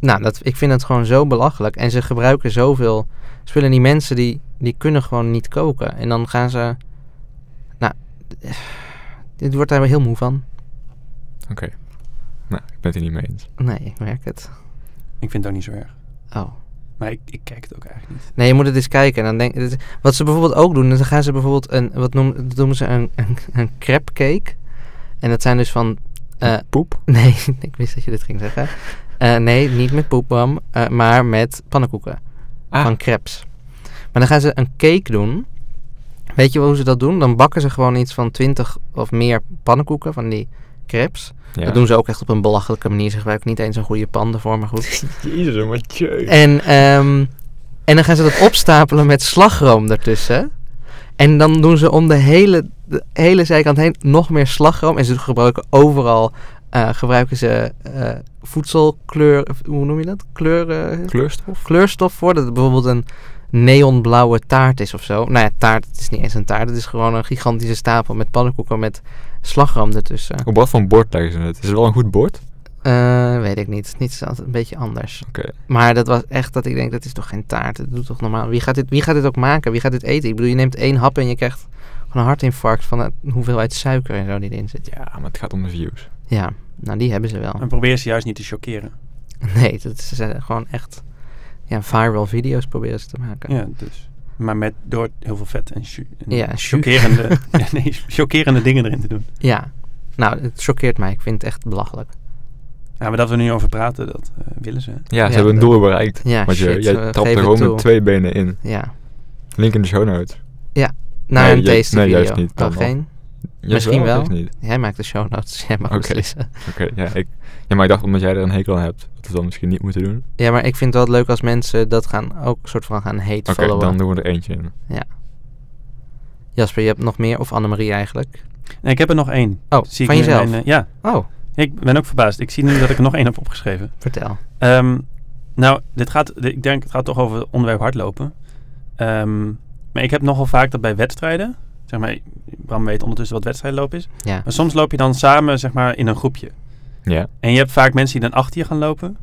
nou, dat, ik vind het gewoon zo belachelijk. En ze gebruiken zoveel spullen. Die mensen die, die kunnen gewoon niet koken. En dan gaan ze... Nou, dit wordt daar wel heel moe van.
Oké. Nou, ik ben het er niet mee eens.
Nee, ik merk het.
Ik vind het ook niet zo erg.
Oh.
Maar ik, ik kijk het ook eigenlijk niet.
Nee, je moet het eens kijken. En dan denk, dit is- wat ze bijvoorbeeld ook doen, is dan gaan ze bijvoorbeeld een... Wat noemen, dat noemen ze een, een, een crepe cake. En dat zijn dus van... eh,
Poep?
nee, ik wist dat je dit ging zeggen. Eh, nee, niet met poepbam, eh, maar met pannenkoeken.
Ah.
van crepes. Maar dan gaan ze een cake doen. Weet je wel hoe ze dat doen? Dan bakken ze gewoon iets van 20 of meer pannenkoeken van die crepes.
Ja.
Dat doen ze ook echt op een belachelijke manier. Ze gebruiken niet eens een goede pan ervoor, maar goed.
Jezus, Mathieu.
En, ehm, en dan gaan ze dat opstapelen met slagroom ertussen. En dan doen ze om de hele, de hele zijkant heen nog meer slagroom. En ze gebruiken overal eh, gebruiken ze eh, voedselkleur... Hoe noem je dat? Kleuren
Kleurstof?
kleurstof voor. Dat het bijvoorbeeld een neonblauwe taart is of zo. Nou ja, taart, het is niet eens een taart. Het is gewoon een gigantische stapel met pannenkoeken met slagroom ertussen.
Op wat voor een bord leggen ze het? Is het wel een goed bord?
Eh, weet ik niet. Het is altijd een beetje anders.
Oké.
Maar dat was echt dat ik denk, dat is toch geen taart? Dat doet toch normaal? Wie gaat dit, wie gaat dit ook maken? Wie gaat dit eten? Ik bedoel, je neemt één hap en je krijgt gewoon een hartinfarct van de hoeveelheid suiker en zo die erin zit.
Ja, maar het gaat om de views.
Ja, nou die hebben ze wel.
En probeer ze juist niet te chockeren.
Nee, dat is eh, gewoon echt... Ja, viral video's proberen ze te maken.
Ja, dus. Maar met, door heel veel vet en, chu- en
Ja, chu-
chockerende, ja, nee, chockerende dingen erin te doen.
Ja. Nou, het choqueert mij. Ik vind het echt belachelijk.
Ja, Nou, maar dat we er nu over praten, dat eh, willen ze.
Ja, ze
Ja,
hebben een
dat-
doel bereikt.
Ja,
Want je,
shit,
jij
eh,
trapt
geef
er
het
gewoon
toe.
met twee benen in.
Ja.
Link in de show notes.
Naar
Nee,
een
ju-
taste
nee,
video.
juist niet, dan
Oh,
nog.
geen?
Yes,
Misschien wel.
of niet.
Jij maakt de show notes. Jij mag
Oké.
beslissen.
Oké, ja, ik, ja, maar ik dacht omdat jij er een hekel aan hebt, dat we dat misschien niet moeten doen.
Ja, maar ik vind het wel leuk als mensen dat gaan ook een soort van gaan hate
Oké,
followen.
dan doen we er eentje in.
Jasper, je hebt nog meer? Of Annemarie eigenlijk?
Nee, ik heb er nog één.
Oh,
Zie ik
van
nu in
jezelf?
mijn, eh, ja,
Oh,
ik ben ook verbaasd. Ik zie nu dat ik er nog één heb opgeschreven.
vertel.
Ehm, nou, dit gaat, dit- ik denk het gaat toch over het onderwerp hardlopen. Ehm, maar ik heb nogal vaak dat bij wedstrijden, zeg maar, Bram weet ondertussen wat wedstrijdlopen is.
Ja.
Eh,
Maar soms loop je dan samen, zeg maar, in een groepje.
Ja,
En je hebt vaak mensen die dan achter je gaan lopen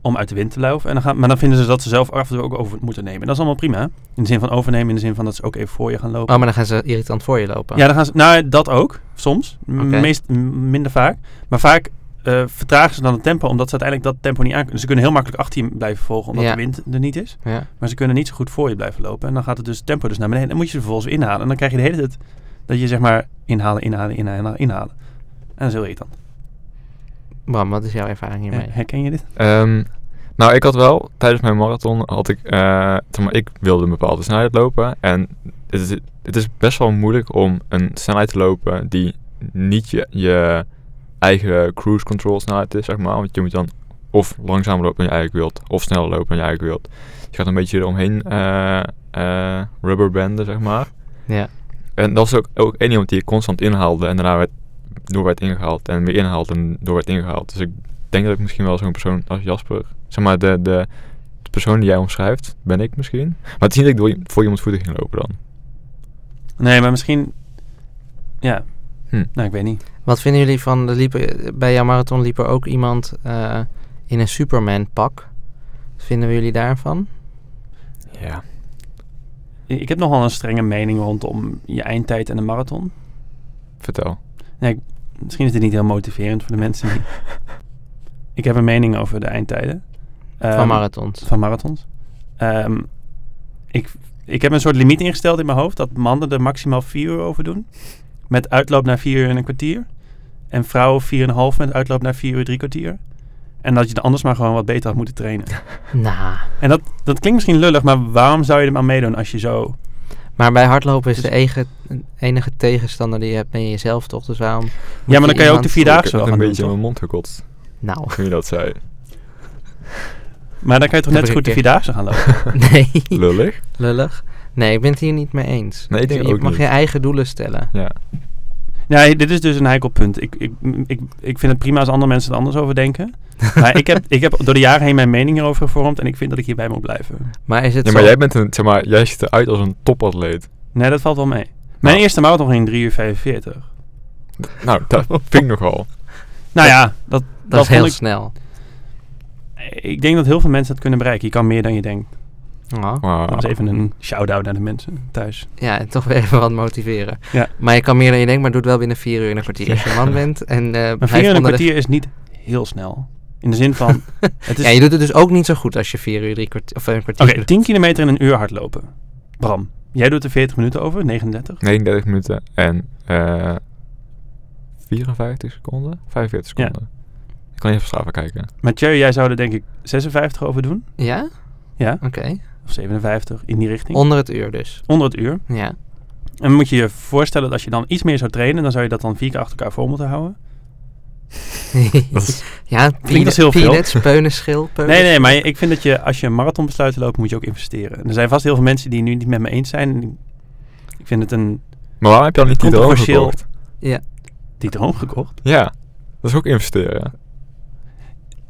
om uit de wind te lopen. En dan gaan, maar dan vinden ze dat ze zelf af en toe ook over moeten nemen. En dat is allemaal prima. In de zin van overnemen, in de zin van dat ze ook even voor je gaan lopen.
Oh, maar dan gaan ze irritant voor je lopen.
Ja, dan gaan ze, nou, dat ook. Soms. M-
Oké.
Meest, m- minder vaak. Maar vaak eh, vertragen ze dan het tempo, omdat ze uiteindelijk dat tempo niet aan kunnen. Ze kunnen heel makkelijk achter je blijven volgen, omdat
Ja.
de wind er niet is.
Ja.
Maar ze kunnen niet zo goed voor je blijven lopen. En dan gaat het dus het tempo dus naar beneden. En moet je ze vervolgens weer inhalen. En dan krijg je de hele tijd dat je zeg maar inhalen, inhalen, inhalen, inhalen. En dat is heel irritant.
Bram, wat is jouw ervaring hiermee?
Eh, Herken je dit?
Ehm, nou, ik had wel, tijdens mijn marathon had ik, eh, zeg maar, ik wilde een bepaalde snelheid lopen. En het is, het is best wel moeilijk om een snelheid te lopen die niet je, je eigen cruise control snelheid is, zeg maar. Want je moet dan of langzamer lopen dan je eigenlijk wilt, of sneller lopen dan je eigenlijk wilt. Je gaat een beetje eromheen eh eh, rubberbanden, zeg maar.
Ja.
En dat was ook, ook één iemand die ik constant inhaalde en daarna werd, door werd ingehaald en weer ingehaald en door werd ingehaald. Dus ik denk dat ik misschien wel zo'n persoon als Jasper, zeg maar de, de, de persoon die jij omschrijft, ben ik misschien. Maar het is niet dat ik door, je- voor iemand voeten ging lopen dan.
Nee, maar misschien... Ja.
Hm.
Nou, ik weet niet.
Wat vinden jullie van, er liepen, bij jouw marathon liep er ook iemand eh, in een Superman pak. vinden we jullie daarvan?
Ja.
I- Ik heb nogal een strenge mening rondom je eindtijd en de marathon.
Vertel.
Misschien is dit niet heel motiverend voor de mensen. die- ik heb een mening over de eindtijden.
van
Ehm,
marathons.
van marathons. Ehm, ik, ik heb een soort limiet ingesteld in mijn hoofd dat mannen er maximaal vier uur over doen. Met uitloop naar vier uur en een kwartier. En vrouwen vier en een half met uitloop naar vier uur drie kwartier. En dat je er anders maar gewoon wat beter had moeten trainen.
Nou,
En dat, dat klinkt misschien lullig, maar waarom zou je er aan meedoen als je zo...
maar bij hardlopen is
Dus-
de enige, enige tegenstander die je hebt ben jezelf toch? Dus waarom?
Ja, maar dan kan je ook de
iemand-
ik
Vierdaagse
heb
wel
net
gaan
een
doen,
beetje in
toch?
mijn mond gekotst
Nou,
toen je dat zei.
Maar dan kan je toch
Dan
net zo goed de
begin ik
Vierdaagse gaan lopen.
nee.
Lullig.
Lullig. Nee, ik ben het hier niet mee eens.
Nee, ik
je
ook
mag
niet.
je eigen doelen stellen.
Ja.
Nee, dit is dus een heikel punt. Ik, ik, ik, ik vind het prima als andere mensen er anders over denken. Maar ik heb, ik heb door de jaren heen mijn mening erover gevormd en ik vind dat ik hierbij moet blijven.
Maar is het
Ja, maar
zo-
jij bent een, zeg maar, jij ziet eruit als een topatleet.
Nee, dat valt wel mee. Mijn
Oh.
Nou.
eerste marathon ging 3 uur 45.
Nou, dat vind ik nogal.
Nou ja, dat,
dat,
dat
is heel
vond
snel.
ik, ik denk dat heel veel mensen dat kunnen bereiken. Je kan meer dan je denkt.
Oh.
Wow.
Dat was even een shout-out naar de mensen thuis.
Ja, en toch weer even wat motiveren.
Ja.
Maar je kan meer dan je denkt, maar doe het wel binnen vier uur en een kwartier. Als je een man bent en eh
Maar
blijf
4 uur en een
onder de-
kwartier is niet heel snel. In de zin van, het is
Ja, je doet het dus ook niet zo goed als je vier uur drie kwartier, of een kwartier
Oké,
doet.
10 kilometer in een uur hardlopen. Bram, jij doet er 40 minuten over, 39.
39 minuten en eh 54 seconden? 45
Ja.
seconden. Ik kan even op Strava kijken.
Mathieu, jij zou er denk ik 56 over doen.
Ja?
Ja.
Oké.
Of 57, in die richting.
Onder het uur dus.
onder het uur.
Ja.
En dan moet je je voorstellen dat als je dan iets meer zou trainen, dan zou je dat dan vier keer achter elkaar vol moeten houden.
Dat is,
ja,
als heel veel.
peanuts, peunenschil, peunenschil.
Nee, nee, maar ik vind dat je als je een marathon besluit te lopen, moet je ook investeren. En er zijn vast heel veel mensen die nu niet met me eens zijn. En Ik vind het een
maar waarom heb je dan niet die droom
Controversieel.
gekocht?
die droom gekocht.
Ja, dat is ook investeren.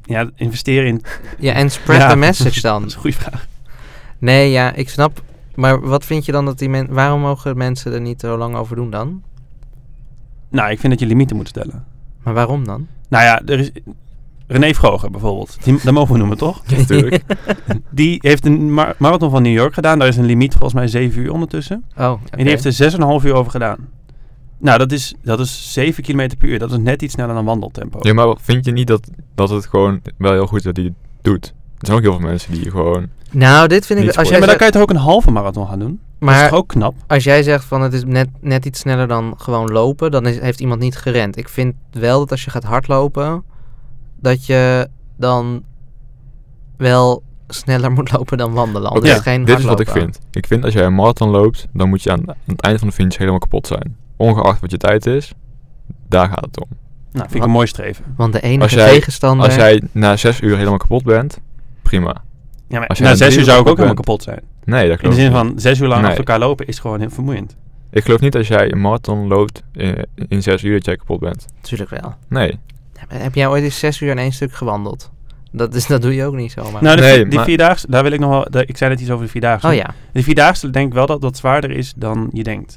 Ja, investeren in.
Ja, en spread
Ja.
the message
Dat
dan.
is een goede vraag.
Nee, ja, ik snap. Maar wat vind je dan dat die mensen... Waarom mogen mensen er niet zo lang over doen dan?
Nou, ik vind dat je limieten moet stellen.
Maar waarom dan?
Nou ja, er is. René Vroger bijvoorbeeld. Die, dat mogen we noemen, toch?
Ja, natuurlijk.
Die heeft een mar- marathon van New York gedaan. Daar is een limiet volgens mij 7 uur ondertussen.
Oh,
En die heeft er 6,5 uur over gedaan. Nou, dat is, dat is 7 km per uur. Dat is net iets sneller dan wandeltempo.
Ja, maar vind je niet dat, dat het gewoon wel heel goed is dat hij het doet? Er zijn ook heel veel mensen die gewoon...
Nou, dit vind ik...
Niet
Als
voor.
jij
Ja,
zegt,
maar dan kan je toch ook een halve marathon gaan doen? dat is
maar
toch ook knap?
als jij zegt van het is net, net iets sneller dan gewoon lopen... dan is, heeft iemand niet gerend. Ik vind wel dat als je gaat hardlopen... dat je dan wel sneller moet lopen dan wandelen.
Oké,
Anders is het geen
dit is wat ik
hardlopen.
vind. Ik vind als jij een marathon loopt, dan moet je aan, aan het einde van de finish helemaal kapot zijn. Ongeacht wat je tijd is, daar gaat het om.
Nou, vind ik een mooi streven.
Want de enige
Als jij-
tegenstander...
Als jij na zes uur helemaal kapot bent, prima.
Ja, maar
Als jij
na
een
6
drie
uur
uur
zou ik ook
kapot
helemaal
bent.
kapot zijn.
Nee, dat
In de
klopt
zin
niet.
van 6 uur lang
Nee.
achter elkaar lopen is gewoon heel vermoeiend.
Ik geloof niet als jij een marathon loopt in, in zes uur dat jij kapot bent.
Natuurlijk wel.
Nee.
Ja, maar Heb jij ooit eens zes uur in één stuk gewandeld? Dat, is, dat doe je ook niet zomaar.
Nou, de,
Nee,
vi- die
maar-
vierdaagse, daar wil ik nog wel... daar- ik zei net iets over de vierdaagse.
oh ja.
De vierdaagse denk ik wel dat dat zwaarder is dan je denkt.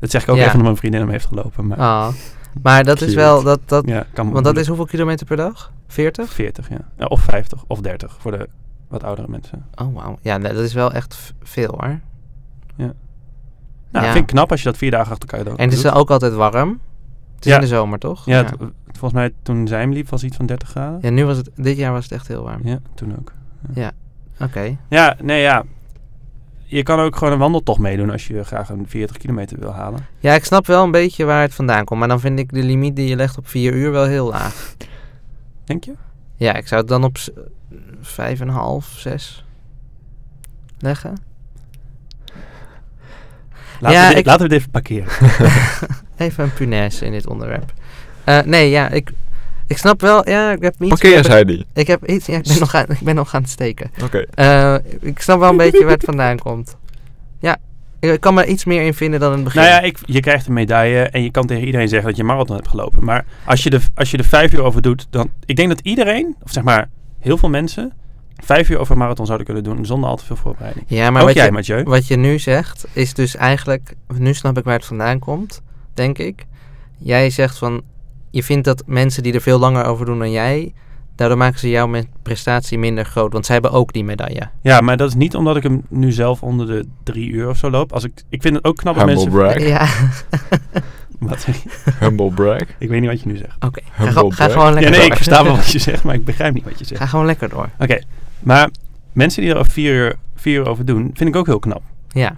Dat zeg ik ook
Ja.
even omdat mijn vriendin hem heeft gelopen. Maar
Ah. Maar dat is
Cute.
wel... Dat, dat,
ja, kan
want dat is hoeveel kilometer per dag? 40?
40, ja. Ja, Of 50, of 30 voor de wat oudere mensen.
Oh, wauw. Ja, nee, dat is wel echt v- veel hoor.
Nou,
Ja.
vind ik knap als je dat vier dagen achter elkaar doet.
En het is dan ook altijd warm. Het is
Ja.
in de zomer, toch?
Ja, het- volgens mij toen zij hem liep was het iets van 30 graden.
Ja, nu was het... Dit jaar was het echt heel warm.
Ja, toen ook.
Oké.
Ja, nee, ja. Je kan ook gewoon een wandeltocht meedoen als je graag een 40 kilometer wil halen.
Ja, ik snap wel een beetje waar het vandaan komt. Maar dan vind ik de limiet die je legt op 4 uur wel heel laag.
Denk je?
Ja, ik zou het dan op 5,5, 6 leggen.
Laten,
Ja,
we, dit,
ik-
laten we dit even parkeren.
Even een punaise in dit onderwerp. Eh, nee, ja, ik, ik snap wel. Ja, ik heb iets. meer
Parkeer,
be-
zei die.
Ik heb iets. Ja, ik ben nog aan, ik ben nog aan het steken.
Oké.
Eh, ik snap wel een beetje waar het vandaan komt. Ja, ik, ik kan me iets meer in vinden dan in het begin.
nou ja, ik, je krijgt een medaille en je kan tegen iedereen zeggen dat je een marathon hebt gelopen. Maar als je, de, als je er vijf uur over doet, dan... Ik denk dat iedereen, of zeg maar heel veel mensen, vijf uur over een marathon zouden kunnen doen zonder al te veel voorbereiding.
ja, maar
ook
wat
jij,
je,
Mathieu.
wat je nu zegt is dus eigenlijk. Nu snap ik waar het vandaan komt, denk ik. Jij zegt van. Je vindt dat mensen die er veel langer over doen dan jij. Daardoor maken ze jouw men- prestatie minder groot, want zij hebben ook die medaille.
Ja, maar dat is niet omdat ik hem nu zelf onder de drie uur of zo loop. Als ik, ik vind het ook knap dat
Humble
mensen...
brag.
Ja,
Wat zeg je?
Humble brag.
Ik weet niet wat je nu zegt.
oké. Ga,
Humble
gewoon- ga
brag.
gewoon
Ja,
lekker
nee,
door.
ik versta wel wat je zegt, maar ik begrijp niet wat je zegt.
Ga gewoon lekker door.
Oké, maar mensen die er al vier uur, vier uur over doen, vind ik ook heel knap.
Ja.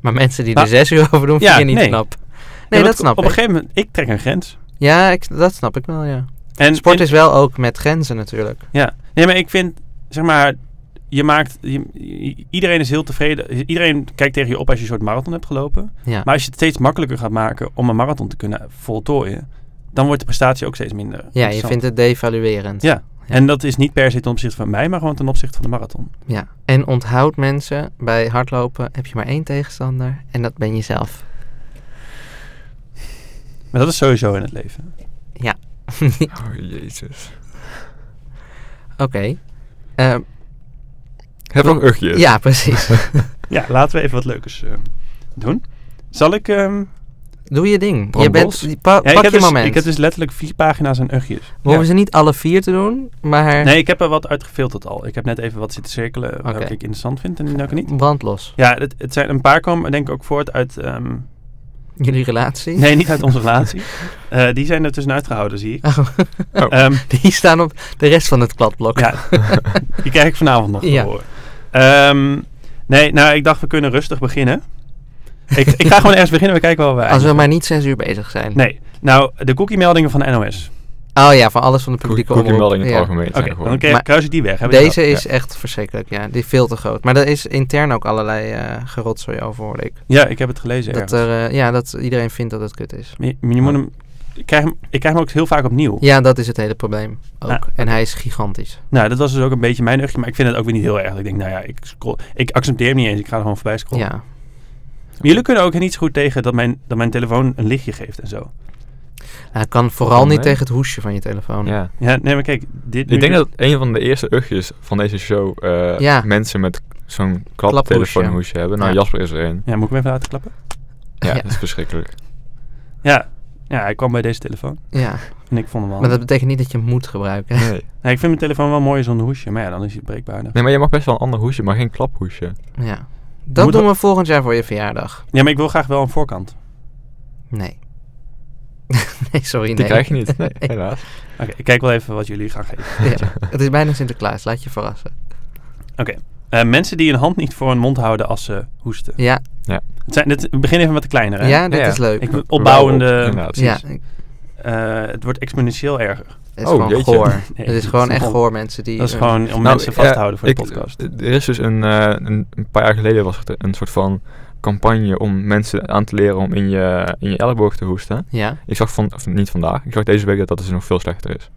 Maar mensen die
Maar-
er zes uur over doen, vind
Nou, Ja,
je niet
nee.
knap. Nee,
Ja,
dat
want
snap
Op
ik.
een gegeven moment, ik trek een grens.
Ja, ik, dat snap ik wel, ja.
En
Sport
en-
is wel ook met grenzen natuurlijk.
Ja, nee, maar ik vind, zeg maar, je maakt, je- i- iedereen is heel tevreden. Iedereen kijkt tegen je op als je een soort marathon hebt gelopen.
Ja.
Maar als je het steeds makkelijker gaat maken om een marathon te kunnen voltooien, dan wordt de prestatie ook steeds minder.
ja, je
interessant.
vindt het devaluerend.
Ja. En dat is niet per se ten opzichte van mij, maar gewoon ten opzichte van de marathon.
Ja. En onthoud mensen, bij hardlopen heb je maar één tegenstander en dat ben jezelf.
Maar dat is sowieso in het leven.
Oh, jezus.
Oké. Eh,
Heb nog ugjes.
Dus.
ja, precies.
Ja, laten we even wat leukers eh, doen. Zal ik... ehm,
Doe je ding.
Bram
je
Bos?
bent, pa-
ja, ik,
pak
heb
je
dus,
moment.
ik heb dus letterlijk vier pagina's aan ugjes.
We hoeven ze niet alle vier te doen, maar
Nee, ik heb er wat uitgefilterd al. Ik heb net even wat zitten cirkelen welke
Oké.
ik interessant vind en welke niet.
brandlos.
Ja, het, het zijn een paar komen denk ik ook voort uit... ehm,
Jullie relatie?
nee, niet uit onze relatie. Eh, die zijn er tussenuit gehouden, zie ik.
Oh,
Ehm,
die staan op de rest van het kladblok.
ja, die krijg ik vanavond nog te
Ja.
horen. Ehm, nee, nou, ik dacht we kunnen rustig beginnen. Ik, ik ga gewoon ergens beginnen, we kijken wel waar
Als we
eindigen.
maar niet zes uur bezig zijn.
Nee, nou, de cookie-meldingen van de NOS.
Oh ja, van alles van de publieke
Cookie
omroep.
melding in het
Ja.
algemeen.
Oké,
zijn
dan
gewoon.
krijg-
Maar
kruis ik die weg. Hebben we
Deze
die
is
gehad?
echt verschrikkelijk, ja. Die is veel te groot. Maar daar is intern ook allerlei eh gerotzooi over, hoorde ik.
Ja. Ja, ik heb het gelezen
Dat, er, eh, ja, dat iedereen vindt dat het kut is.
Je, je moet hem, ik, krijg hem, ik krijg hem ook heel vaak opnieuw.
oh. Ja, dat is het hele probleem ook.
Ah,
En hij is gigantisch.
Nou, dat was dus ook een beetje mijn ugje, maar ik vind het ook weer niet heel erg. Ik denk, nou ja, ik, scroll, ik accepteer hem niet eens, ik ga er gewoon voorbij scrollen.
Ja.
Maar jullie kunnen ook niet zo goed tegen dat mijn, dat mijn telefoon een lichtje geeft en zo.
Hij kan vooral niet
mee?
tegen het hoesje van je telefoon.
Ja.
Ja, nee, maar kijk, dit nu dus-
Ik denk
doet-
dat een van de eerste ugjes van deze show eh,
Ja.
mensen met zo'n
Klaphoesje.
klaptelefoonhoesje hebben. Nou,
Ja.
Jasper is er een.
Ja, moet ik hem even laten klappen?
Ja,
Ja.
dat is verschrikkelijk.
Ja. Ja, hij kwam bij deze telefoon
Ja.
en ik vond hem wel...
Maar dat betekent niet dat je hem moet gebruiken.
Nee.
Nee, ik vind mijn telefoon wel mooi zonder hoesje, maar ja, dan is hij breekbaarder.
nee, maar je mag best wel een ander hoesje, maar geen klaphoesje.
Ja. Dat
Moet
doen
dat-
we volgend jaar voor je verjaardag.
Ja, maar ik wil graag wel een voorkant.
Nee. nee, sorry,
Die
nee.
krijg je niet. Nee,
Nee.
helaas.
Oké, ik kijk wel even wat jullie gaan geven.
Ja. Het is bijna Sinterklaas, laat je verrassen.
Eh, mensen die een hand niet voor hun mond houden als ze hoesten.
Ja,
Het zijn, dit, we beginnen even met de kleinere.
ja,
hè?
dit
Ja, ja.
is leuk.
Ik, opbouwende...
Ja, precies.
ja, ik-
Eh, het wordt exponentieel erger.
het is
Oh,
gewoon
jeetje.
goor.
Nee,
het is
dat
gewoon
is
echt
gewoon-
goor, mensen die...
Dat is
eh,
gewoon om mensen
eh,
vast te houden voor
ik-
de podcast.
Er is dus een, eh, een, een paar jaar geleden was er een soort van campagne om mensen aan te leren om in je, in je elleboog te hoesten.
Ja,
Ik zag van, of niet vandaag, ik zag deze week dat dat dus nog veel slechter is.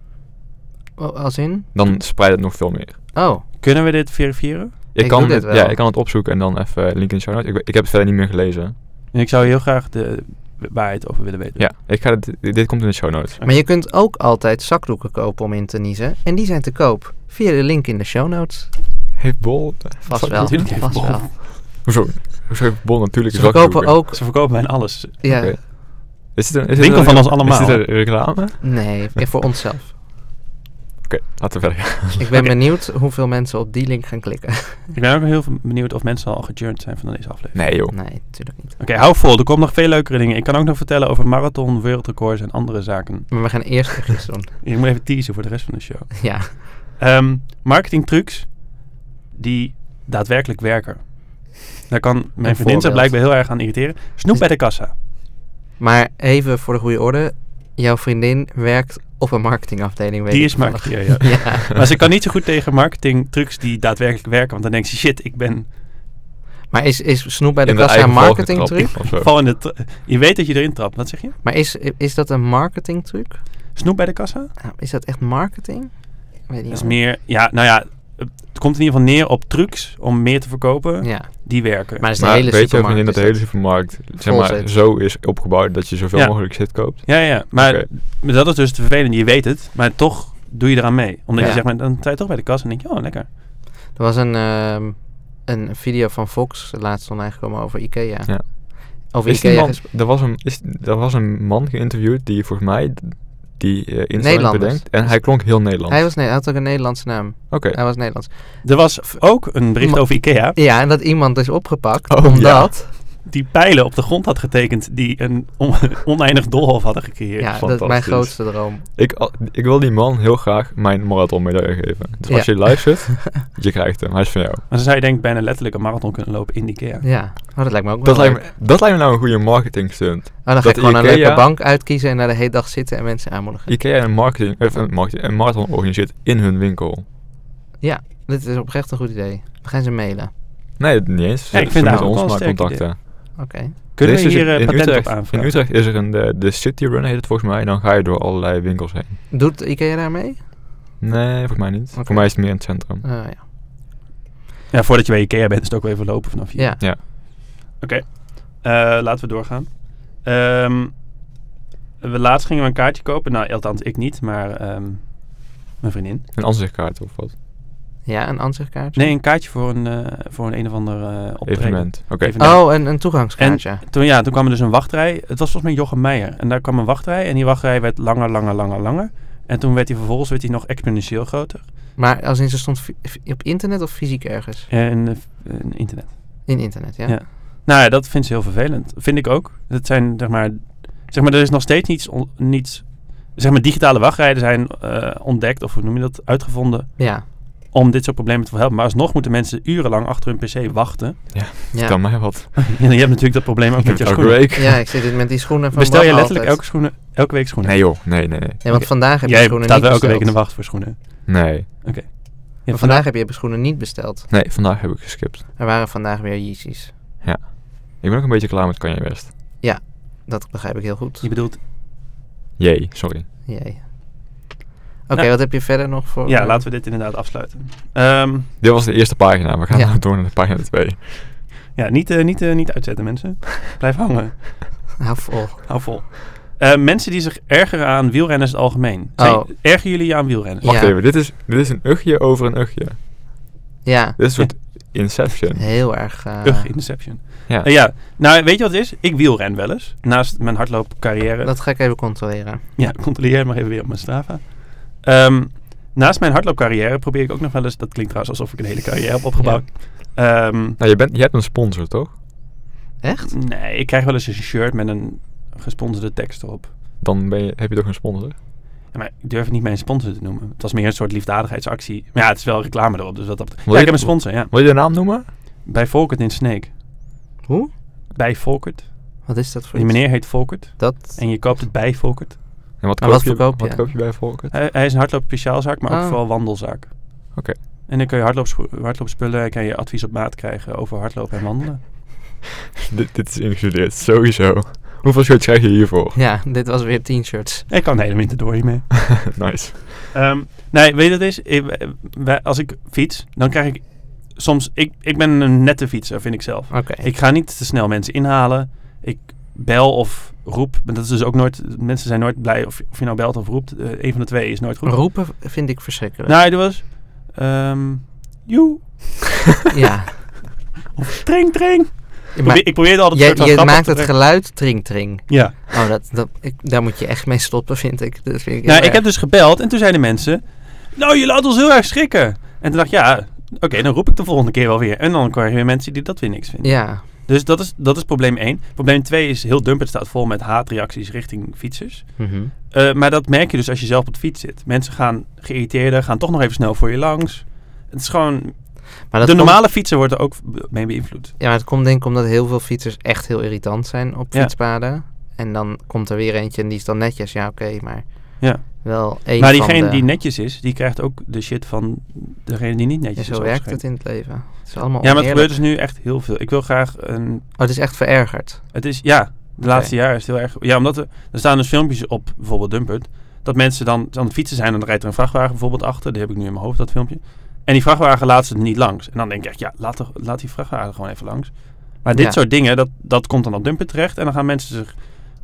Oh, als in?
Dan spreidt het nog veel meer.
Oh,
Kunnen we dit verifiëren?
Ik,
Ik
kan,
doe dit
het,
wel.
ja, ik kan het opzoeken en dan even link in de show notes. Ik, ik heb het verder niet meer gelezen.
En ik zou heel graag de waarheid over willen weten.
Ja, ik ga dit, dit komt in de show notes.
maar je kunt ook altijd zakdoeken kopen om in te niezen. En die zijn te koop via de link in de show notes.
Heeft Bol...
Vast
Zak-
wel,
natuurlijk heeft
vast
Bol-
wel.
Hoezo? Hoezo heeft Bol natuurlijk
Ze verkopen
zakdoeken?
ook...
Ze verkopen bijna alles.
Ja,
Oké. Is dit een, is dit
Winkel
een-
van ons allemaal.
Is dit een reclame? Oké,
nee, voor onszelf.
laten we verder gaan.
Ik ben
Oké.
benieuwd hoeveel mensen op die link gaan klikken.
Ik ben ook heel benieuwd of mensen al gejurned zijn van deze aflevering.
Nee joh.
Nee, natuurlijk niet.
Oké, hou vol. Er komen nog veel leukere dingen. Ik kan ook nog vertellen over marathon, wereldrecords en andere zaken.
Maar we gaan eerst ugjes doen.
Ik moet even teasen voor de rest van de show.
Ja.
Ehm marketing trucs die daadwerkelijk werken. Daar kan mijn vriendin zich
voorbeeld.
blijkbaar heel erg aan irriteren. Snoep
Is-
bij de kassa.
Maar even voor de goede orde. Jouw vriendin werkt op een marketingafdeling, weet
Die
ik
is
toevallig.
marketeer, ja.
Ja.
Maar ze kan niet zo goed tegen marketing trucs die daadwerkelijk werken. Want dan denkt ze, shit, ik ben
Maar is, is snoep bij de
In
kassa een
eigen val
marketing
getrapt
truc?
of zo.
val in de... tra- Je weet dat je erin trapt. Wat zeg je?
Maar is, is dat een marketing truc?
Snoep bij de kassa?
Nou, is dat echt marketing? Ik Weet niet.
Dat is
hoor.
meer... Ja, nou ja, het komt in ieder geval neer op trucs om meer te verkopen
Ja,
die werken.
maar dat is de
Maar
hele
weet je ook
supermarkt.
vriendin dat de
is
hele supermarkt zeg
Vol
maar,
zit.
zo is opgebouwd dat je zoveel
Ja.
mogelijk shit koopt?
Ja, ja, maar
Oké.
maar dat is dus het vervelende. Je weet het, maar toch doe je eraan mee. Omdat je
Ja.
zegt, maar dan sta je toch bij de kassa en denk je, oh, lekker.
Er was een, ehm, een video van Fox laatst online gekomen over Ikea.
Ja.
Over
Is die
Ikea.
man,
gesproken.
er, was een, is, er was een man geïnterviewd die volgens mij d- die eh instelling
Nederlanders.
bedenkt. En hij klonk heel Nederlands.
Hij, was, nee, hij had ook een Nederlandse naam.
Oké.
Hij was Nederlands.
Er was ook een bericht
Ma-
over Ikea
Ja, en dat iemand is opgepakt
Oh,
omdat...
die pijlen op de grond had getekend die een on- oneindig doolhof hadden
Ja,
gecreëerd.
dat is mijn
fantastisch.
grootste droom.
Ik, al- ik wil die man heel graag mijn marathonmedaille geven. Dus als
Ja.
je luistert, je krijgt hem. Hij is van jou.
Maar dan zou je denk ik bijna letterlijk een marathon kunnen lopen in Ikea.
Ja, oh, dat lijkt me ook
Dat
wel
lijkt, me, dat lijkt me nou een goede marketing stunt.
Oh, dan ga
dat
ik gewoon een
Ikea-
leuke bank uitkiezen en daar de hele dag zitten en mensen aanmoedigen.
Ikea een, marketing, of een, marketing, een marathon organiseert in hun winkel.
Dit is oprecht een goed idee. We gaan ze mailen.
Nee, niet eens. Ze,
Ja, ik
ze
vind
moeten
dat ook
ons
wel
maar
een sterk
contacten.
Oké.
Kunnen
Er is
we
dus
hier eh,
in
patent
Utrecht,
op aanvragen?
In Utrecht is er een, eh, de, de City Run heet het volgens mij. Dan ga je door allerlei winkels heen.
Doet Ikea daar mee?
Nee, volgens mij niet.
Oké.
Voor mij is het meer in het centrum.
Oh, ja.
Ja, voordat je bij Ikea bent is het ook wel even lopen vanaf hier.
ja.
Eh, laten we doorgaan. Ehm, we laatst gingen we een kaartje kopen. Nou, althans ik niet, maar ehm, mijn vriendin.
Een ansichtkaart of wat?
Ja, een aanzichtkaartje?
Nee, een kaartje voor een, eh, voor een, een of ander eh optreden.
Evenement. Oké.
Evenement.
Oh, een, een toegangskaartje.
Toen, ja, toen kwam er dus een wachtrij. Het was volgens mij Jochem Meijer. En daar kwam een wachtrij. En die wachtrij werd langer, langer, langer, langer. En toen werd hij vervolgens werd hij nog exponentieel groter.
Maar als in ze stond fi- fi- op internet of fysiek ergens?
En eh, en internet.
In internet, ja.
Ja. Nou ja, dat vindt ze heel vervelend. Vind ik ook. Dat zijn, zeg maar... Zeg maar, er is nog steeds niets... on- niets zeg maar, digitale wachtrijden zijn eh, ontdekt... of hoe noem je dat? Uitgevonden...
Ja.
om dit soort problemen te verhelpen. Maar alsnog moeten mensen urenlang achter hun pc wachten.
ja.
Kan mij wat.
en je hebt natuurlijk dat probleem ook
Ik
met
heb
je
het elke
schoenen.
week.
Ja, ik zit dit met die schoenen van
Bestel je
Bram
letterlijk elke,
altijd.
schoenen, elke week schoenen?
Nee joh. Nee, nee, nee.
Nee, want vandaag heb je
Jij
schoenen
staat
niet
wel elke
besteld.
week in de wacht voor schoenen.
Nee.
Ja,
Maar vandaag heb je je schoenen niet besteld.
Nee, vandaag heb ik geskipt.
Er waren vandaag weer Yeezys.
Ik ben ook een beetje klaar met Kanye West.
Dat begrijp ik heel goed.
Je bedoelt...
Jee, sorry.
Jee. Oké,
Nou.
wat heb je verder nog voor...
Ja, laten we dit inderdaad afsluiten. Ehm,
Dit was de eerste pagina. We gaan
Ja.
nou door naar de pagina 2.
ja, niet, eh, niet, eh, niet uitzetten, mensen. Blijf hangen.
Hou vol.
Hou vol. Eh, mensen die zich ergeren aan wielrenners in het algemeen. Zijn,
Oh.
Ergen jullie je aan wielrenners?
Wacht
Ja.
even. Dit is, dit is een ugje over een ugje.
Ja,
Dit is een soort Inception.
heel erg... eh,
Ugh, interception.
Ja.
Eh, ja, nou weet je wat het is? Ik wielren wel eens. Naast mijn hardloopcarrière.
dat ga ik even controleren.
Ja, controleer jij maar even weer op mijn Strava. Ehm, naast mijn hardloopcarrière probeer ik ook nog wel eens... Dat klinkt trouwens alsof ik een hele carrière heb opgebouwd. Ehm,
Nou, je, bent, je hebt een sponsor, toch?
Echt?
nee, ik krijg wel eens een shirt met een gesponsorde tekst erop.
Dan ben je, heb je toch een sponsor?
Ja, maar ik durf het niet mijn sponsor te noemen. Het was meer een soort liefdadigheidsactie. Maar ja, het is wel reclame erop. Dus wat dat betreft.
Wil
Ja, ik
je-
heb een sponsor, ja.
Wil je de naam noemen?
Bij Volkert in Snake.
Hoe?
Bij Volkert.
Wat is dat voor
Die
iets?
meneer heet Volkert
Dat...
en je koopt het bij Volkert.
En wat
Maar
koop,
Nou, wat
je,
verkoop je?
wat koop je bij Volkert?
Hij, hij is een hardloop speciaalzaak, maar ook
Ah.
vooral wandelzaak.
Oké.
En dan kun je hardloopscho- hardloopspullen en kan je advies op maat krijgen over hardlopen en wandelen.
dit, dit is ingestudeerd, sowieso. Hoeveel shirts krijg je hiervoor?
Ja, dit was weer t shirts.
Ik kan de hele winter door hiermee.
nice.
Ehm nee, weet je wat het is? Ik- eh, wij- als ik fiets, dan krijg ik soms... Ik, ik ben een nette fietser, vind ik zelf.
Oké.
Ik ga niet te snel mensen inhalen. Ik bel of roep. Maar dat is dus ook nooit... Mensen zijn nooit blij of, of je nou belt of roept. Eh, een van de twee is nooit goed.
Roepen vind ik verschrikkelijk.
Nou, er was... ehm joe,
ja.
Tring, tring.
Ja, maar
ik probeerde altijd
jij-
soort van
je
grappig
maakt
te
het
brengen.
geluid tring tring.
Ja.
Oh, dat, dat, ik, daar moet je echt mee stoppen, vind ik. Dat vind ik
Nou,
heel
ik heb dus gebeld en toen zeiden mensen... Nou, je laat ons heel erg schrikken. En toen dacht ik, ja... Oké, dan roep ik de volgende keer wel weer. En dan krijg je weer mensen die dat weer niks
erg.
vinden.
Ja,
Dus dat is, dat is probleem 1. Probleem 2 is heel Dumpert staat vol met haatreacties richting fietsers.
mhm.
Eh, maar dat merk je dus als je zelf op de fiets zit. Mensen gaan geïrriteerder, gaan toch nog even snel voor je langs. Het is gewoon...
maar dat
de
komt-
normale fietser wordt er ook mee beïnvloed.
ja, maar het komt denk ik omdat heel veel fietsers echt heel irritant zijn op
Ja.
fietspaden. En dan komt er weer eentje en die is dan netjes. Ja, oké, maar
Ja.
wel één
maar
van
diegene
de-
die netjes is, die krijgt ook de shit van degene die niet netjes
Ja,
is.
zo werkt
waarschijnlijk.
het in het leven. Het is allemaal
Ja, maar het
oneerlijk.
gebeurt dus nu echt heel veel. Ik wil graag een...
Oh, het is echt verergerd.
Het is, ja, de laatste jaren is het heel erg... Ja, omdat er, er staan dus filmpjes op, bijvoorbeeld Dumpert... dat mensen dan aan het fietsen zijn en dan rijdt er een vrachtwagen bijvoorbeeld achter. Die heb ik nu in mijn hoofd, dat filmpje. En die vrachtwagen laat ze er niet langs. En dan denk ik echt, ja, laat, toch, laat die vrachtwagen gewoon even langs. Maar dit
Ja.
soort dingen, dat, dat komt dan op Dumpert terecht. En dan gaan mensen zich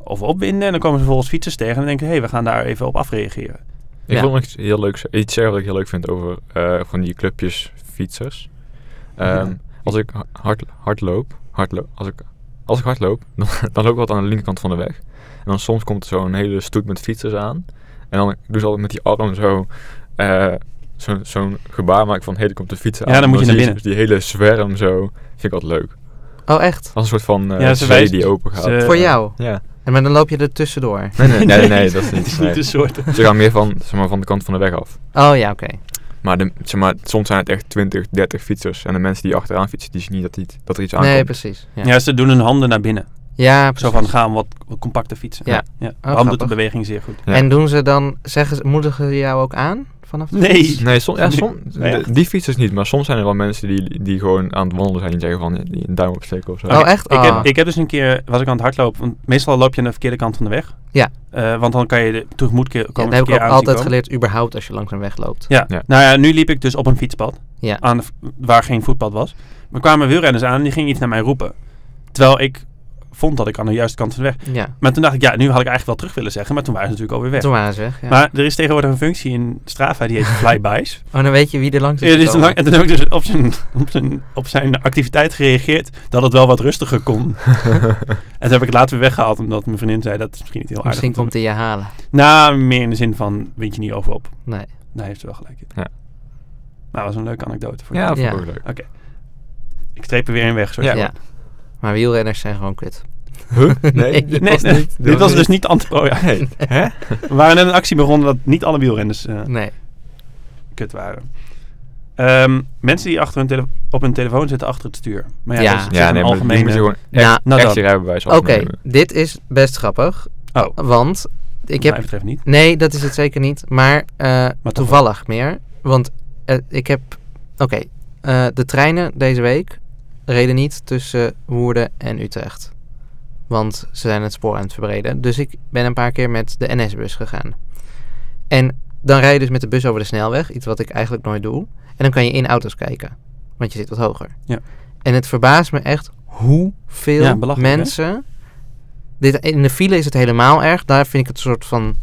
over opwinden. En dan komen ze vervolgens fietsers tegen en denken... hé, hey, we gaan daar even op afreageren.
Ik
Ja.
wil nog iets heel leuks, iets zeggen wat ik heel leuk vind over eh, van die clubjes fietsers. Ehm,
Ja.
Als ik ha- hard, hard loop, hard loop- als, ik, als ik hard loop, dan, dan loop ik wat aan de linkerkant van de weg. En dan soms komt er zo'n hele stoet met fietsers aan. En dan doen ze altijd met die arm zo... eh, zo- Zo'n gebaar maken van, hé, er komt de fiets aan.
Ja, dan moet je naar
zie dus
binnen.
Die hele zwerm zo. Vind ik altijd leuk.
Oh, echt?
Als een soort van eh
Ja, ze
zee
wijst-
die open gaat.
ze-
Voor jou?
Ja.
En maar dan loop je er tussendoor.
Nee, nee, nee, nee, dat is niet.
Het is
nee.
niet de soort.
Ze gaan meer van, zeg maar, van de kant van de weg af.
Oh ja, oké.
Maar, de, zeg maar soms zijn het echt 20, 30 fietsers. En de mensen die achteraan fietsen, die zien niet dat, die, dat er iets aankomt.
Nee, precies. Ja,
Ja, ze doen hun handen naar binnen.
Ja, precies.
Zo van gaan wat, wat compacter fietsen.
Ja.
ja.
Oh,
Bram doet de
grappig.
beweging zeer goed.
Ja.
En doen ze dan, zeggen ze, moedigen ze jou ook aan vanaf de
Nee.
fiets?
Nee, som, ja, som,
Nee,
de- die fietsers niet. Maar soms zijn er wel mensen die, die gewoon aan het wandelen zijn. Die zeggen van, eh, die een duim opsteken of zo.
Oh,
Oké,
echt?
Ik,
Ah.
heb, ik heb dus een keer, was ik aan het hardlopen, want meestal loop je aan de verkeerde kant van de weg.
Ja.
Eh, want dan kan je de tegemoet ke-
Ja, dat
komen.
heb ik ook altijd
geleerd.
geleerd, überhaupt als je langs een weg loopt.
Ja.
Ja.
nou ja, nu liep ik dus op een fietspad,
Ja.
aan de v- waar geen voetpad was. Maar kwamen wielrenners aan en die gingen iets naar mij roepen. Terwijl ik vond dat ik aan de juiste kant van de weg.
Ja,
Maar toen dacht ik, ja, nu had ik eigenlijk wel terug willen zeggen, maar toen waren ze natuurlijk alweer weg.
toen waren ze weg. Ja.
Maar er is tegenwoordig een functie in Strava die heet flybys.
oh, dan weet je wie er langs
Ja, dit is
gekomen.
lang, en toen heb ik dus op zijn, op, zijn, op zijn activiteit gereageerd dat het wel wat rustiger kon. en toen heb ik het later weer weggehaald, omdat mijn vriendin zei dat is misschien niet heel Oh, aardig.
Misschien komt
om te
hij je halen.
doen. Nou, meer in de zin van, wint je niet over op.
Nee.
Daar heeft ze wel gelijk in.
Ja.
Nou, dat was een leuke anekdote voor
ja,
jou.
dat vond ik
Ja.
ook leuk.
Ik streep er weer in weg, sorry.
Ja. Maar wielrenners zijn gewoon kut.
Huh? Nee,
Nee.
dit
Nee,
was
nee,
niet.
dit was dus niet de antwoord. ja.
Nee. Hè?
We waren net een actie begonnen dat niet alle wielrenners eh,
Nee.
kut waren. Ehm, mensen die achter hun tele- op hun telefoon zitten achter het stuur. Maar ja,
Ja.
dat
Ja,
is
nee,
een
maar die
algemene...
moet je gewoon echt,
Nou,
Nou
echt
dan.
je rijbewijs
Oké,
afnemen.
dit is best grappig.
Oh,
Want ik
wat
heb
mij betreft niet.
Nee, dat is het zeker niet. Maar, eh,
toch
toevallig meer. Want eh, ik heb. Oké, eh, de treinen deze week reden niet tussen Woerden en Utrecht. Want ze zijn het spoor aan het verbreden. Dus ik ben een paar keer met de NS-bus gegaan. En dan rij je dus met de bus over de snelweg, iets wat ik eigenlijk nooit doe. En dan kan je in auto's kijken, want je zit wat hoger.
Ja.
En het verbaast me echt hoeveel
Ja, belachelijk, hè?
mensen. Dit, in de file is het helemaal erg. Daar vind ik het soort van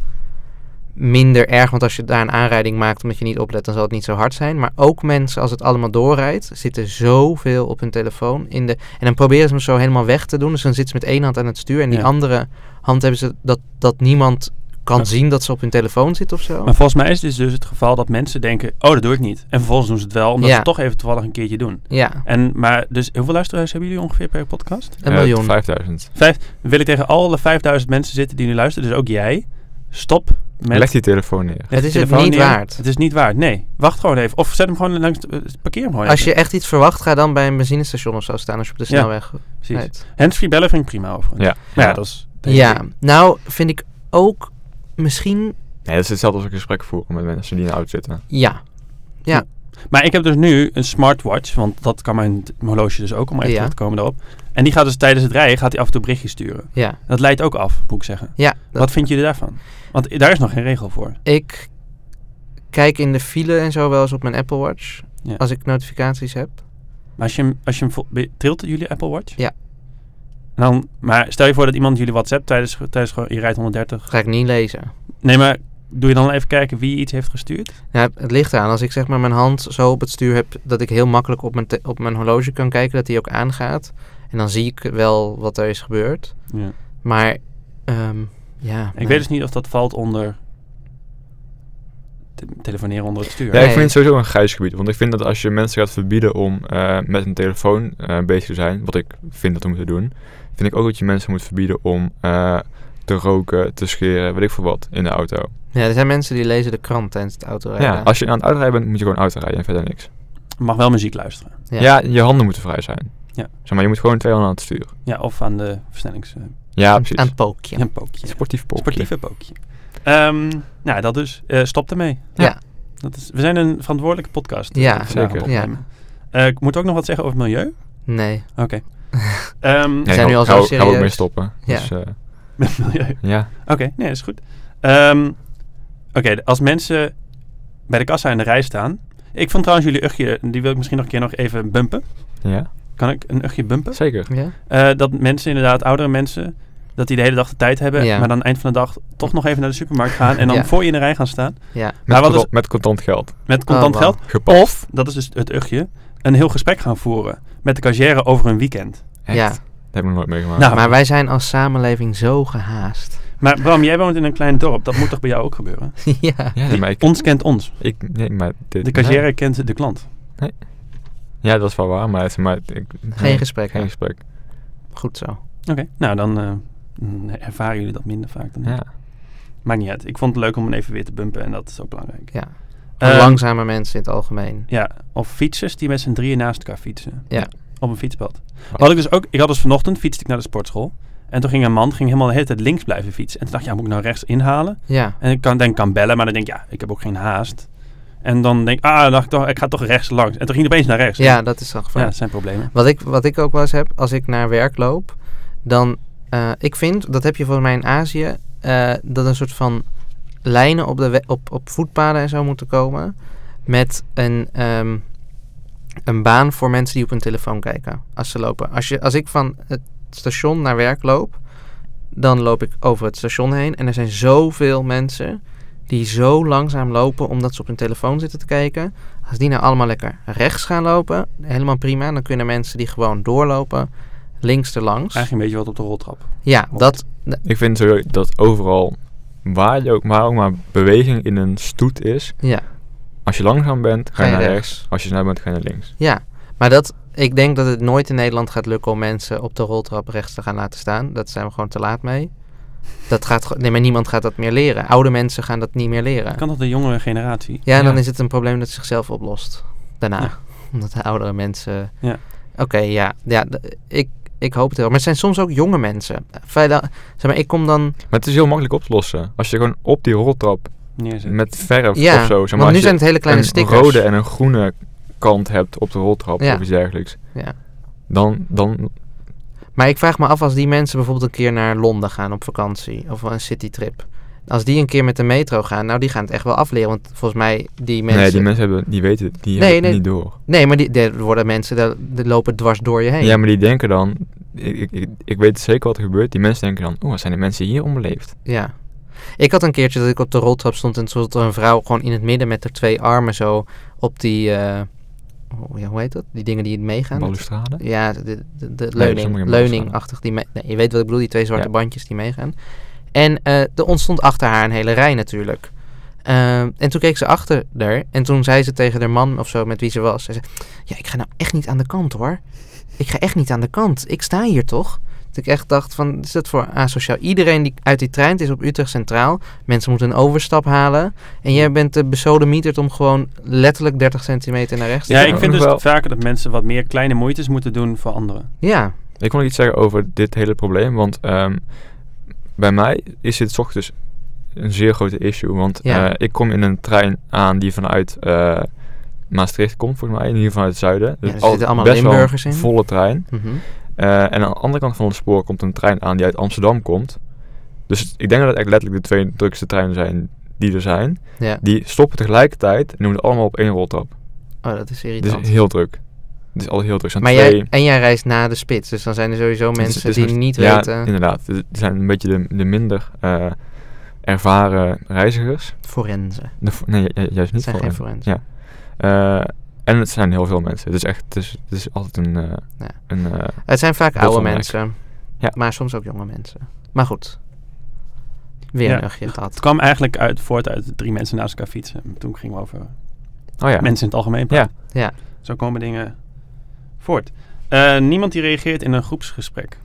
minder erg. Want als je daar een aanrijding maakt omdat je niet oplet, dan zal het niet zo hard zijn. Maar ook mensen, als het allemaal doorrijdt, zitten zoveel op hun telefoon. In de, en dan proberen ze hem zo helemaal weg te doen. Dus dan zitten ze met één hand aan het stuur. En die
Ja.
andere hand hebben ze dat, dat niemand kan
Ja.
zien dat ze op hun telefoon zit of zo.
Maar volgens mij is het dus het geval dat mensen denken, oh, dat doe ik niet. En vervolgens doen ze het wel, omdat
Ja.
ze het toch even toevallig een keertje doen.
Ja,
En, maar, dus hoeveel luisteraars hebben jullie ongeveer per podcast?
een
Eh,
miljoen.
5000.
Wil ik tegen alle 5000 mensen zitten die nu luisteren, dus ook jij, stop met...
Leg die telefoon neer.
Het
leg je
is het
telefoon
niet waard.
Het is niet waard, nee. Wacht gewoon even. Of zet hem gewoon langs, eh, parkeer hem gewoon
Als
even.
je echt iets verwacht, ga dan bij een benzinestation of zo staan als je op de
Ja,
snelweg
Precies.
rijdt.
Handsfree bellen vind ik prima overigens.
Ja.
Maar ja, dat is...
Ja, nou vind ik ook misschien
Nee, dat is hetzelfde als een gesprek voeren met mensen die in de auto zitten.
ja.
Maar ik heb dus nu een smartwatch, want dat kan mijn, mijn horloge dus ook, om even
Ja.
terug te komen daarop. En die gaat dus tijdens het rijden, gaat hij af en toe berichtjes sturen.
Ja,
Dat leidt ook af, moet ik zeggen.
ja dat-
Wat vind je daarvan? Want i- daar is nog geen regel voor.
ik kijk in de file en zo wel eens op mijn Apple Watch
Ja.
als ik notificaties heb.
Maar als je hem, als je hem vo- be- trilt jullie Apple Watch?
Ja.
En Dan, maar stel je voor dat iemand jullie WhatsApp tijdens, tijdens gewoon, je rijdt 130.
Ga ik niet lezen.
Nee, maar doe je dan even kijken wie iets heeft gestuurd?
Nou, het ligt eraan. Als ik zeg maar mijn hand zo op het stuur heb dat ik heel makkelijk op mijn, te- op mijn horloge kan kijken, dat die ook aangaat. En dan zie ik wel wat er is gebeurd.
Ja.
Maar ehm, ja.
Ik weet dus niet of dat valt onder te- telefoneren onder het
Ja,
stuur.
ik
Nee.
vind het sowieso een grijs gebied. Want ik vind dat als je mensen gaat verbieden om eh, met een telefoon eh, bezig te zijn, wat ik vind dat we moeten doen, vind ik ook dat je mensen moet verbieden om eh, te roken, te scheren, weet ik veel wat, in de auto.
Ja, er zijn mensen die lezen de krant tijdens het
Ja,
autorijden.
als je aan het uitrijden bent, moet je gewoon autorijden en verder niks.
Mag wel muziek luisteren.
Ja.
Ja, je handen moeten vrij zijn.
Ja.
Zeg maar, je moet gewoon twee handen aan het stuur.
Ja, of aan de versnellings... eh,
Ja,
Aan-
precies.
Aan het pookje.
een pookje.
Sportief pop.
Sportieve pookje. Ehm, nou, dat dus. Eh, stop ermee.
Ja.
Dat is, we zijn een verantwoordelijke podcast. eh,
Ja,
vandaag aan het
zeker.
Ja.
opnemen. Eh, ik moet ook nog wat zeggen over het milieu.
Nee.
Oké. Ehm,
zijn nu al zo
Gaan we ook mee
serieus.
stoppen.
Ja.
Dus, eh,
Met milieu.
ja.
Oké, nee, dat is goed. Ehm, Oké, de- als mensen bij de kassa in de rij staan. Ik vond trouwens jullie uchtje, die wil ik misschien nog een keer nog even bumpen.
ja,
Kan ik een uchtje bumpen?
zeker.
Ja?
Eh, dat mensen, inderdaad, oudere mensen, dat die de hele dag de tijd hebben,
Ja.
maar dan eind van de dag toch nog even naar de supermarkt gaan en dan
Ja.
voor je in de rij gaan staan
Ja.
Met,
Maar wat
contant,
is-
met contant geld.
met contant
Oh, wauw.
geld.
Gepast.
Of, dat is dus het uchtje, een heel gesprek gaan voeren met de cashier over een weekend.
Echt?
Ja.
Dat heb ik nog nooit meegemaakt.
Nou,
Maar wij zijn als samenleving zo gehaast.
Maar Bram, jij woont in een klein dorp. Dat moet toch bij jou ook gebeuren?
ja.
Ja, nee, maar ik...
Ons kent ons.
ik nee, maar dit, nee.
De cashier kent de klant.
Ja, dat is wel waar, maar... zeg maar ik,
Geen gesprek.
Geen gesprek.
Goed zo.
Oké, nou dan eh, mm, ervaren jullie dat minder vaak dan ik.
Ja.
Maakt niet uit. Ik vond het leuk om hem even weer te bumpen en dat is ook belangrijk.
Ja.
Ehm,
Langzame mensen in het algemeen.
Ja, of fietsers die met z'n drieën naast elkaar fietsen.
Ja.
Op een fietspad. Wat ik dus ook, ik had dus vanochtend fietste ik naar de sportschool. En toen ging een man, ging helemaal de hele tijd links blijven fietsen. En toen dacht ik, ja, moet ik nou rechts inhalen?
Ja.
En ik kan, denk, ik kan bellen, maar dan denk ik, ja, ik heb ook geen haast. En dan denk ik, ah, dan dacht ik, toch, ik ga toch rechts langs. En toen ging hij opeens naar rechts.
Ja, dat is dan
ja,
gevaarlijk.
dat zijn problemen.
Wat ik, wat ik ook wel eens heb, als ik naar werk loop, dan, eh, ik vind, dat heb je volgens mij in Azië, eh, dat een soort van lijnen op, de we- op, op voetpaden en zo moeten komen met een, ehm, een baan voor mensen die op hun telefoon kijken als ze lopen. Als, je, als ik van het station naar werk loop, dan loop ik over het station heen en er zijn zoveel mensen die zo langzaam lopen omdat ze op hun telefoon zitten te kijken. Als die nou allemaal lekker rechts gaan lopen, helemaal prima. Dan kunnen mensen die gewoon doorlopen, links erlangs.
Eigenlijk een beetje wat op de roltrap.
Ja, dat,
Ik vind zo dat overal, waar je ook maar, ook maar beweging in een stoet is,
ja.
als je langzaam bent, ga,
Ga
je
je
naar
rechts.
rechts. Als je snel bent, ga je naar links.
Ja, maar dat, ik denk dat het nooit in Nederland gaat lukken om mensen op de roltrap rechts te gaan laten staan. Dat zijn we gewoon te laat mee. Dat gaat, ge- nee, maar niemand gaat dat meer leren. Oude mensen gaan dat niet meer leren.
Kan dat de jongere generatie?
Ja, en dan
Ja.
is het een probleem dat zichzelf oplost. Daarna.
Ja.
Omdat de oudere mensen...
Ja.
Oké, ja. ja d- ik, ik hoop het wel. Maar het zijn soms ook jonge mensen. Vrijdag, zeg maar, ik kom dan...
Maar het is heel makkelijk op te lossen. Als je gewoon op die roltrap
Neerzet.
met verf
ja,
of zo, zeg maar,
want
als
nu
je
zijn het hele kleine
een
stickers.
rode en een groene kant hebt op de roltrap
Ja.
of iets dergelijks,
Ja.
dan, dan
Maar ik vraag me af als die mensen bijvoorbeeld een keer naar Londen gaan op vakantie of een citytrip. Als die een keer met de metro gaan, nou die gaan het echt wel afleren. Want volgens mij die mensen.
nee, die mensen hebben, die weten, het- die
Nee,
hebben het
nee.
niet door.
Nee, maar die, er worden mensen, daar- die lopen dwars door je heen.
Ja, maar die denken dan, ik, ik- ik, ik weet zeker wat er gebeurt. Die mensen denken dan, oh, wat zijn die mensen hier onbeleefd?
Ja. Ik had een keertje dat ik op de roltrap stond en stond er een vrouw gewoon in het midden met haar twee armen zo op die. eh, oh, ja, hoe heet dat? Die dingen die meegaan.
Balustrade?
Ja, de, de, de
sommige
leuning,
mensen
leuningachtig. Die me- nee, je weet wat ik bedoel, die twee zwarte
Ja.
bandjes die meegaan. En eh, er ontstond achter haar een hele rij natuurlijk. Ehm, en toen keek ze achter haar en toen zei ze tegen haar man of zo met wie ze was. Ze zei, ja, ik ga nou echt niet aan de kant hoor. Ik ga echt niet aan de kant. Ik sta hier toch? Dat ik echt dacht van, is dat voor asociaal? Iedereen die uit die trein het is op Utrecht Centraal. Mensen moeten een overstap halen. En jij bent de besodemieterd om gewoon letterlijk 30 centimeter naar rechts te
Ja,
gaan.
ik vind
Nog
dus
wel-
vaker dat mensen wat meer kleine moeites moeten doen voor anderen.
Ja,
Ik wil nog iets zeggen over dit hele probleem, want ehm, bij mij is dit 's ochtends een zeer grote issue. Want
Ja.
eh, ik kom in een trein aan die vanuit eh, Maastricht komt, volgens mij, in ieder geval vanuit het zuiden.
er
al-
zitten allemaal
best wel een
Limburgers in.
volle trein.
mhm.
Eh, en aan de andere kant van het spoor komt een trein aan die uit Amsterdam komt. Dus ik denk dat het echt letterlijk de twee drukste treinen zijn die er zijn.
ja.
Die stoppen tegelijkertijd en doen het allemaal op één roltrap.
Oh, dat is
Het is
irritant.
Dus heel druk. Het is al heel druk. Er zijn
maar
twee-
jij, en jij reist na de spits, dus dan zijn er sowieso
het is-
mensen
het is
die
nog-
niet
ja,
weten.
inderdaad. Het het zijn een beetje de, de minder eh, ervaren reizigers.
Forensen.
De vo- nee, ju- ju- juist
Het
niet.
zijn
voor
geen
hen.
forensen.
Eh, en het zijn heel veel mensen. Het is echt, het is, het is altijd een... eh,
Ja.
een eh,
Het zijn vaak oude
Bottleneck.
mensen,
Ja.
maar soms ook jonge mensen. Maar goed, weer
Ja,
een ugje
Het
gehad.
kwam eigenlijk uit, voort uit drie mensen naast elkaar fietsen. Toen gingen we over
oh ja.
mensen in het algemeen praten.
Ja.
Zo komen dingen voort. Eh, niemand die reageert in een groepsgesprek.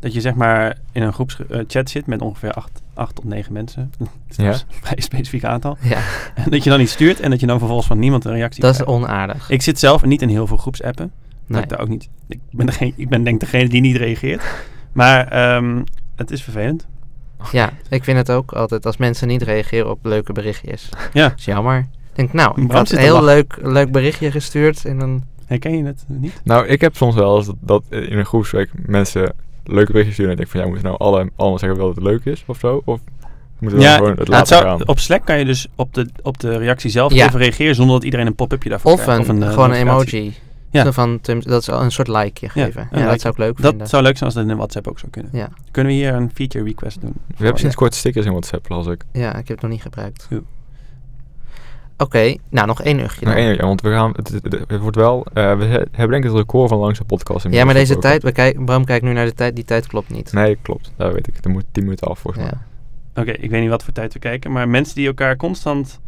Dat je zeg maar in een groepschat chat zit met ongeveer acht, acht tot negen mensen. Dat is
Ja.
een vrij specifiek aantal.
Ja,
En dat je dan iets stuurt en dat je dan vervolgens van niemand een reactie
dat is
krijgt.
onaardig.
Ik zit zelf niet in heel veel groepsappen. Dat
Nee.
ik, daar ook niet, ik, ben degene, ik ben denk degene die niet reageert. Maar ehm, het is vervelend.
Ja, ik vind het ook altijd als mensen niet reageren op leuke berichtjes.
Ja.
Dat is jammer. Ik denk, nou, ik
Bram
had
zit
een
te
heel
lachen.
leuk, leuk berichtje gestuurd en dan...
Herken je het niet?
Nou, ik heb soms wel eens dat, dat in een groepswerk mensen leuke berichtjes sturen. En ik denk van, ja, moeten nou alle, allemaal zeggen wel dat het leuk is of zo? Of moeten we dan gewoon het
nou, het
laten
zou-
gaan?
op Slack kan je dus op de, op de reactie zelf
Ja.
even reageren zonder dat iedereen een pop-upje daarvoor
Of een,
krijgt. eh,
gewoon een
notificatie.
emoji.
Ja.
Zo van, Tim, dat is al een soort likeje
Ja,
geven.
een
Ja,
likeje.
dat zou ik leuk
Dat
vinden.
zou leuk zijn als dat in WhatsApp ook zou kunnen.
Ja.
Kunnen we hier een feature request doen?
Oh,
We hebben sinds kort stickers in WhatsApp, las ik.
Ja, ik heb het nog niet gebruikt.
Oeh.
nou nog één uurtje.
Maar
dan.
één uur, ja, want we gaan, het, het- het wordt wel, eh, we he- hebben denk ik het record van langste podcast.
Ja,
inmiddels
maar deze
verbroken.
tijd, we kijk, Bram kijkt nu naar de tijd, die tijd klopt niet.
Nee, klopt. Daar weet ik. Er moet 10 minuten af volgens
Ja.
mij.
Oké, ik weet niet wat voor tijd we kijken, maar mensen die elkaar constant...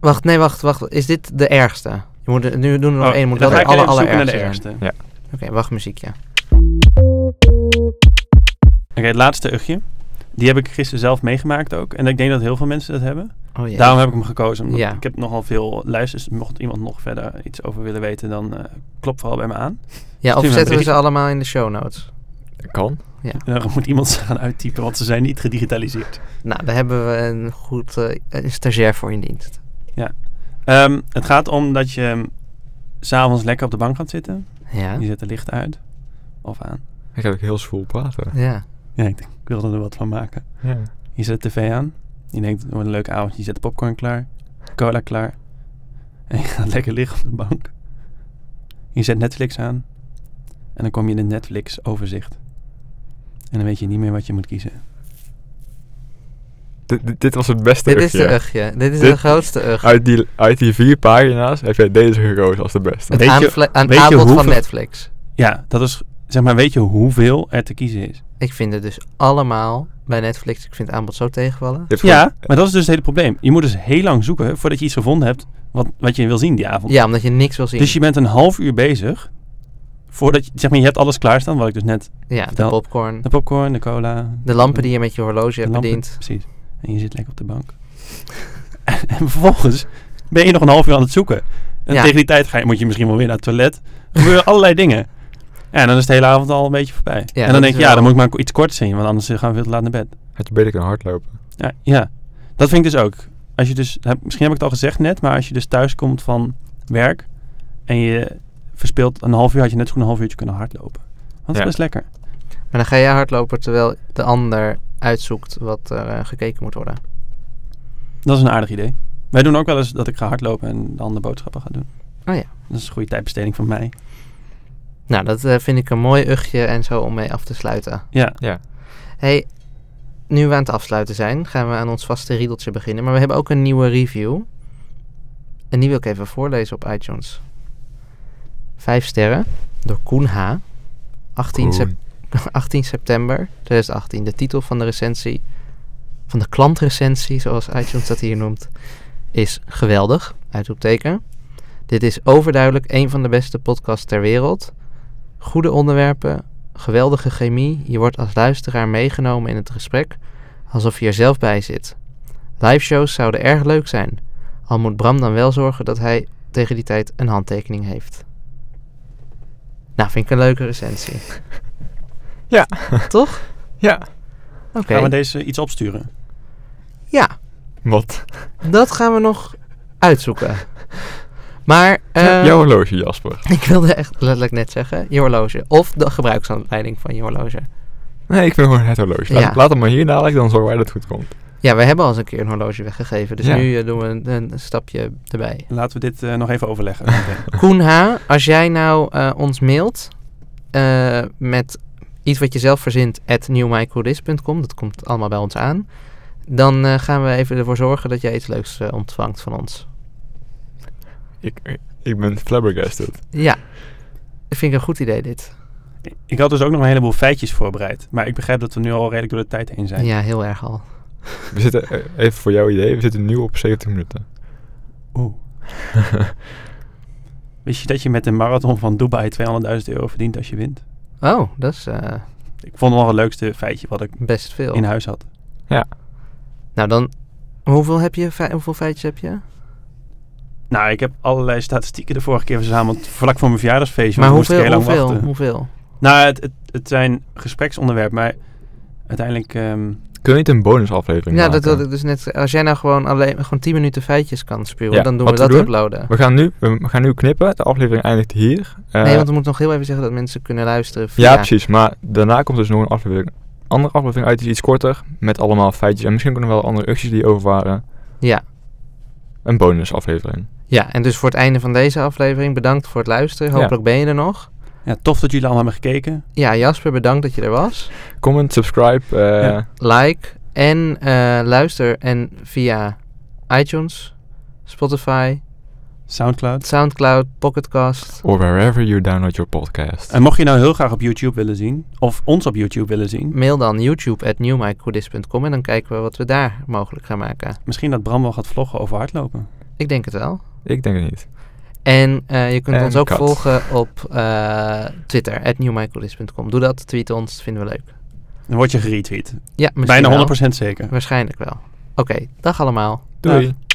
Wacht, nee, wacht, wacht. Is dit de ergste? Je moet, er- nu doen we er nog
Oh,
één. Moet
dan
wel
ga
de
ik
alle,
even zoeken naar
allerergste
de
zijn.
ergste. Oké,
Oké, wacht muziekje.
het laatste uchtje. Die heb ik gisteren zelf meegemaakt ook. En ik denk dat heel veel mensen dat hebben.
Oh jee.
Daarom heb ik hem gekozen. Omdat
Ja.
Ik heb nogal veel luisters. Mocht iemand nog verder iets over willen weten, dan eh klop vooral bij me aan.
ja, of
stuur me
zetten we
een
ze allemaal in de show notes?
Kan.
En dan moet iemand ze gaan uittypen, want ze zijn niet gedigitaliseerd.
Nou, daar hebben we een goed eh, een stagiair voor in dienst.
Ehm, het gaat om dat je s'avonds lekker op de bank gaat zitten.
Ja.
Je zet de licht uit. Of aan.
Ik ga ook heel zwoel praten.
Ja.
Ja, ik, denk, ik wilde er wat van maken.
Ja.
Je zet de tv aan. Je denkt, het wordt een leuke avond. Je zet de popcorn klaar. de Cola klaar. En je gaat lekker liggen op de bank. Je zet Netflix aan. En dan kom je in het Netflix overzicht. En dan weet je niet meer wat je moet kiezen.
Dit, dit- dit was het beste
Dit is de
ugje.
ugje. Dit is
Dit-
de grootste ug.
Ah,
Uit die, uit die vier pagina's heb jij deze gekozen als de beste.
Het
Weet je-
aanvle- aan
weet je
aanbod van
hoeveel-
Netflix.
Ja, dat is, zeg maar, weet je hoeveel er te kiezen is?
Ik vind het dus allemaal bij Netflix. Ik vind het aanbod zo tegenvallen.
Je hebt
Ja,
gewoon-
maar dat is dus het hele probleem. Je moet dus heel lang zoeken voordat je iets gevonden hebt wat, wat je wil zien die avond.
Ja, omdat je niks wil zien.
Dus je bent een half uur bezig voordat je, zeg maar, je hebt alles klaarstaan, wat ik dus net,
ja, de
vertel.
popcorn.
de popcorn, de cola.
De lampen die je met je horloge
de
hebt
lampen,
bediend.
Precies. En je zit lekker op de bank. en vervolgens ben je nog een half uur aan het zoeken. En
Ja.
tegen die tijd ga je, moet je misschien wel weer naar het toilet. Er gebeuren allerlei dingen. Ja, en dan is de hele avond al een beetje voorbij. en
dat
dan denk je,
is
ja,
wel-
dan moet ik maar iets korts zien, want anders eh, gaan we veel te laat naar bed.
Had je beter kunnen hardlopen.
Ja, ja, dat vind ik dus ook. Als je dus, heb- misschien heb ik het al gezegd net, maar als je dus thuis komt van werk en je verspeelt een half uur, had je net zo goed een half uurtje kunnen hardlopen. Want dat is
Ja.
best lekker.
Maar dan ga jij hardlopen terwijl de ander uitzoekt wat er eh, gekeken moet worden.
Dat is een aardig idee. Wij doen ook wel eens dat ik ga hardlopen en dan de boodschappen ga doen.
Oh ja.
Dat is een goede tijdbesteding van mij.
Nou, dat eh, vind ik een mooi ugje en zo om mee af te sluiten.
Ja,
hey, nu we aan het afsluiten zijn, gaan we aan ons vaste riedeltje beginnen. Maar we hebben ook een nieuwe review. En die wil ik even voorlezen op iTunes. Vijf sterren door Koen H. 18, sep-
Koen.
18 september 2018. De titel van de recensie, van de klantrecensie, zoals iTunes dat hier noemt, is geweldig. Uitroepteken. Dit is overduidelijk een van de beste podcasts ter wereld. Goede onderwerpen, geweldige chemie. Je wordt als luisteraar meegenomen in het gesprek, alsof je er zelf bij zit. Liveshows zouden erg leuk zijn. Al moet Bram dan wel zorgen dat hij tegen die tijd een handtekening heeft. Nou, vind ik een leuke recensie.
Ja.
Toch?
Ja.
Oké.
gaan we deze iets opsturen?
Ja,
Wat?
dat gaan we nog uitzoeken. Maar eh,
Jouw horloge, Jasper.
ik wilde echt letterlijk net zeggen, je horloge. Of de gebruiksaanleiding van je horloge.
Nee, ik vind gewoon het horloge. Laat,
Ja.
laat hem maar hier dadelijk, dan zorgen wij dat het goed komt.
Ja, we hebben al eens een keer een horloge weggegeven. Dus
Ja.
nu eh, doen we een, een stapje erbij.
Laten we dit eh, nog even overleggen. Oké.
Koen H., als jij nou eh, ons mailt eh, met iets wat je zelf verzint at newmycoolist.com, dat komt allemaal bij ons aan, dan eh, gaan we even ervoor zorgen dat jij iets leuks eh, ontvangt van ons.
Ik, ik ben flabbergasted.
Ja, dat vind ik een goed idee dit.
ik had dus ook nog een heleboel feitjes voorbereid. Maar ik begrijp dat we nu al redelijk door de tijd heen zijn.
Ja, heel erg al.
We zitten, eh, even voor jouw idee, we zitten nu op 70 minuten.
Oeh. Wist je dat je met de marathon van Dubai 200.000 euro verdient als je wint?
Oh, dat is eh,
Ik vond het wel het leukste feitje wat ik
best veel.
in huis had.
Nou dan, hoeveel, heb je, fe- hoeveel feitjes heb je?
Nou, ik heb allerlei statistieken de vorige keer verzameld. Vlak voor mijn verjaardagsfeestje.
maar
want moest ik
hoeveel,
heel lang
hoeveel,
wachten.
hoeveel?
Nou, het, het, het zijn gespreksonderwerpen, maar uiteindelijk... ehm,
Kun je niet een bonusaflevering
Ja,
maken?
dat wilde ik dus net zeggen. Als jij nou gewoon alleen gewoon 10 minuten feitjes kan spuren,
Ja,
dan doen we
wat
dat
we doen? Eh,
uploaden.
We gaan, nu, we gaan nu knippen, de aflevering eindigt hier. Eh,
nee, want we moeten nog heel even zeggen dat mensen kunnen luisteren via...
Ja, precies. Maar daarna komt dus nog een aflevering. Andere aflevering uit, die is iets korter. Met allemaal feitjes. En misschien kunnen we wel andere uchtjes die over waren.
Ja.
Een bonusaflevering.
Ja, en dus voor het einde van deze aflevering bedankt voor het luisteren.
Ja.
Hopelijk ben je er nog.
ja, tof dat jullie allemaal hebben gekeken.
Ja, Jasper, bedankt dat je er was.
Comment, subscribe. eh,
Ja.
Like en eh, luister en via iTunes, Spotify,
Soundcloud.
Soundcloud, Pocketcast.
Or wherever you download your podcast.
En mocht je nou heel graag op YouTube willen zien, of ons op YouTube willen zien,
Mail dan youtube at newmicrodis.com en dan kijken we wat we daar mogelijk gaan maken.
misschien dat Bram wel gaat vloggen over hardlopen.
Ik denk het wel.
Ik denk het niet.
En eh, je kunt
En
ons ook
kat.
volgen op eh, Twitter, at newmicrodis.com. Doe dat, tweet ons, vinden we leuk.
Dan word je geretweet.
Ja, misschien
Bijna
wel.
100% zeker.
Waarschijnlijk wel. Oké, dag allemaal.
Doei.
Dag.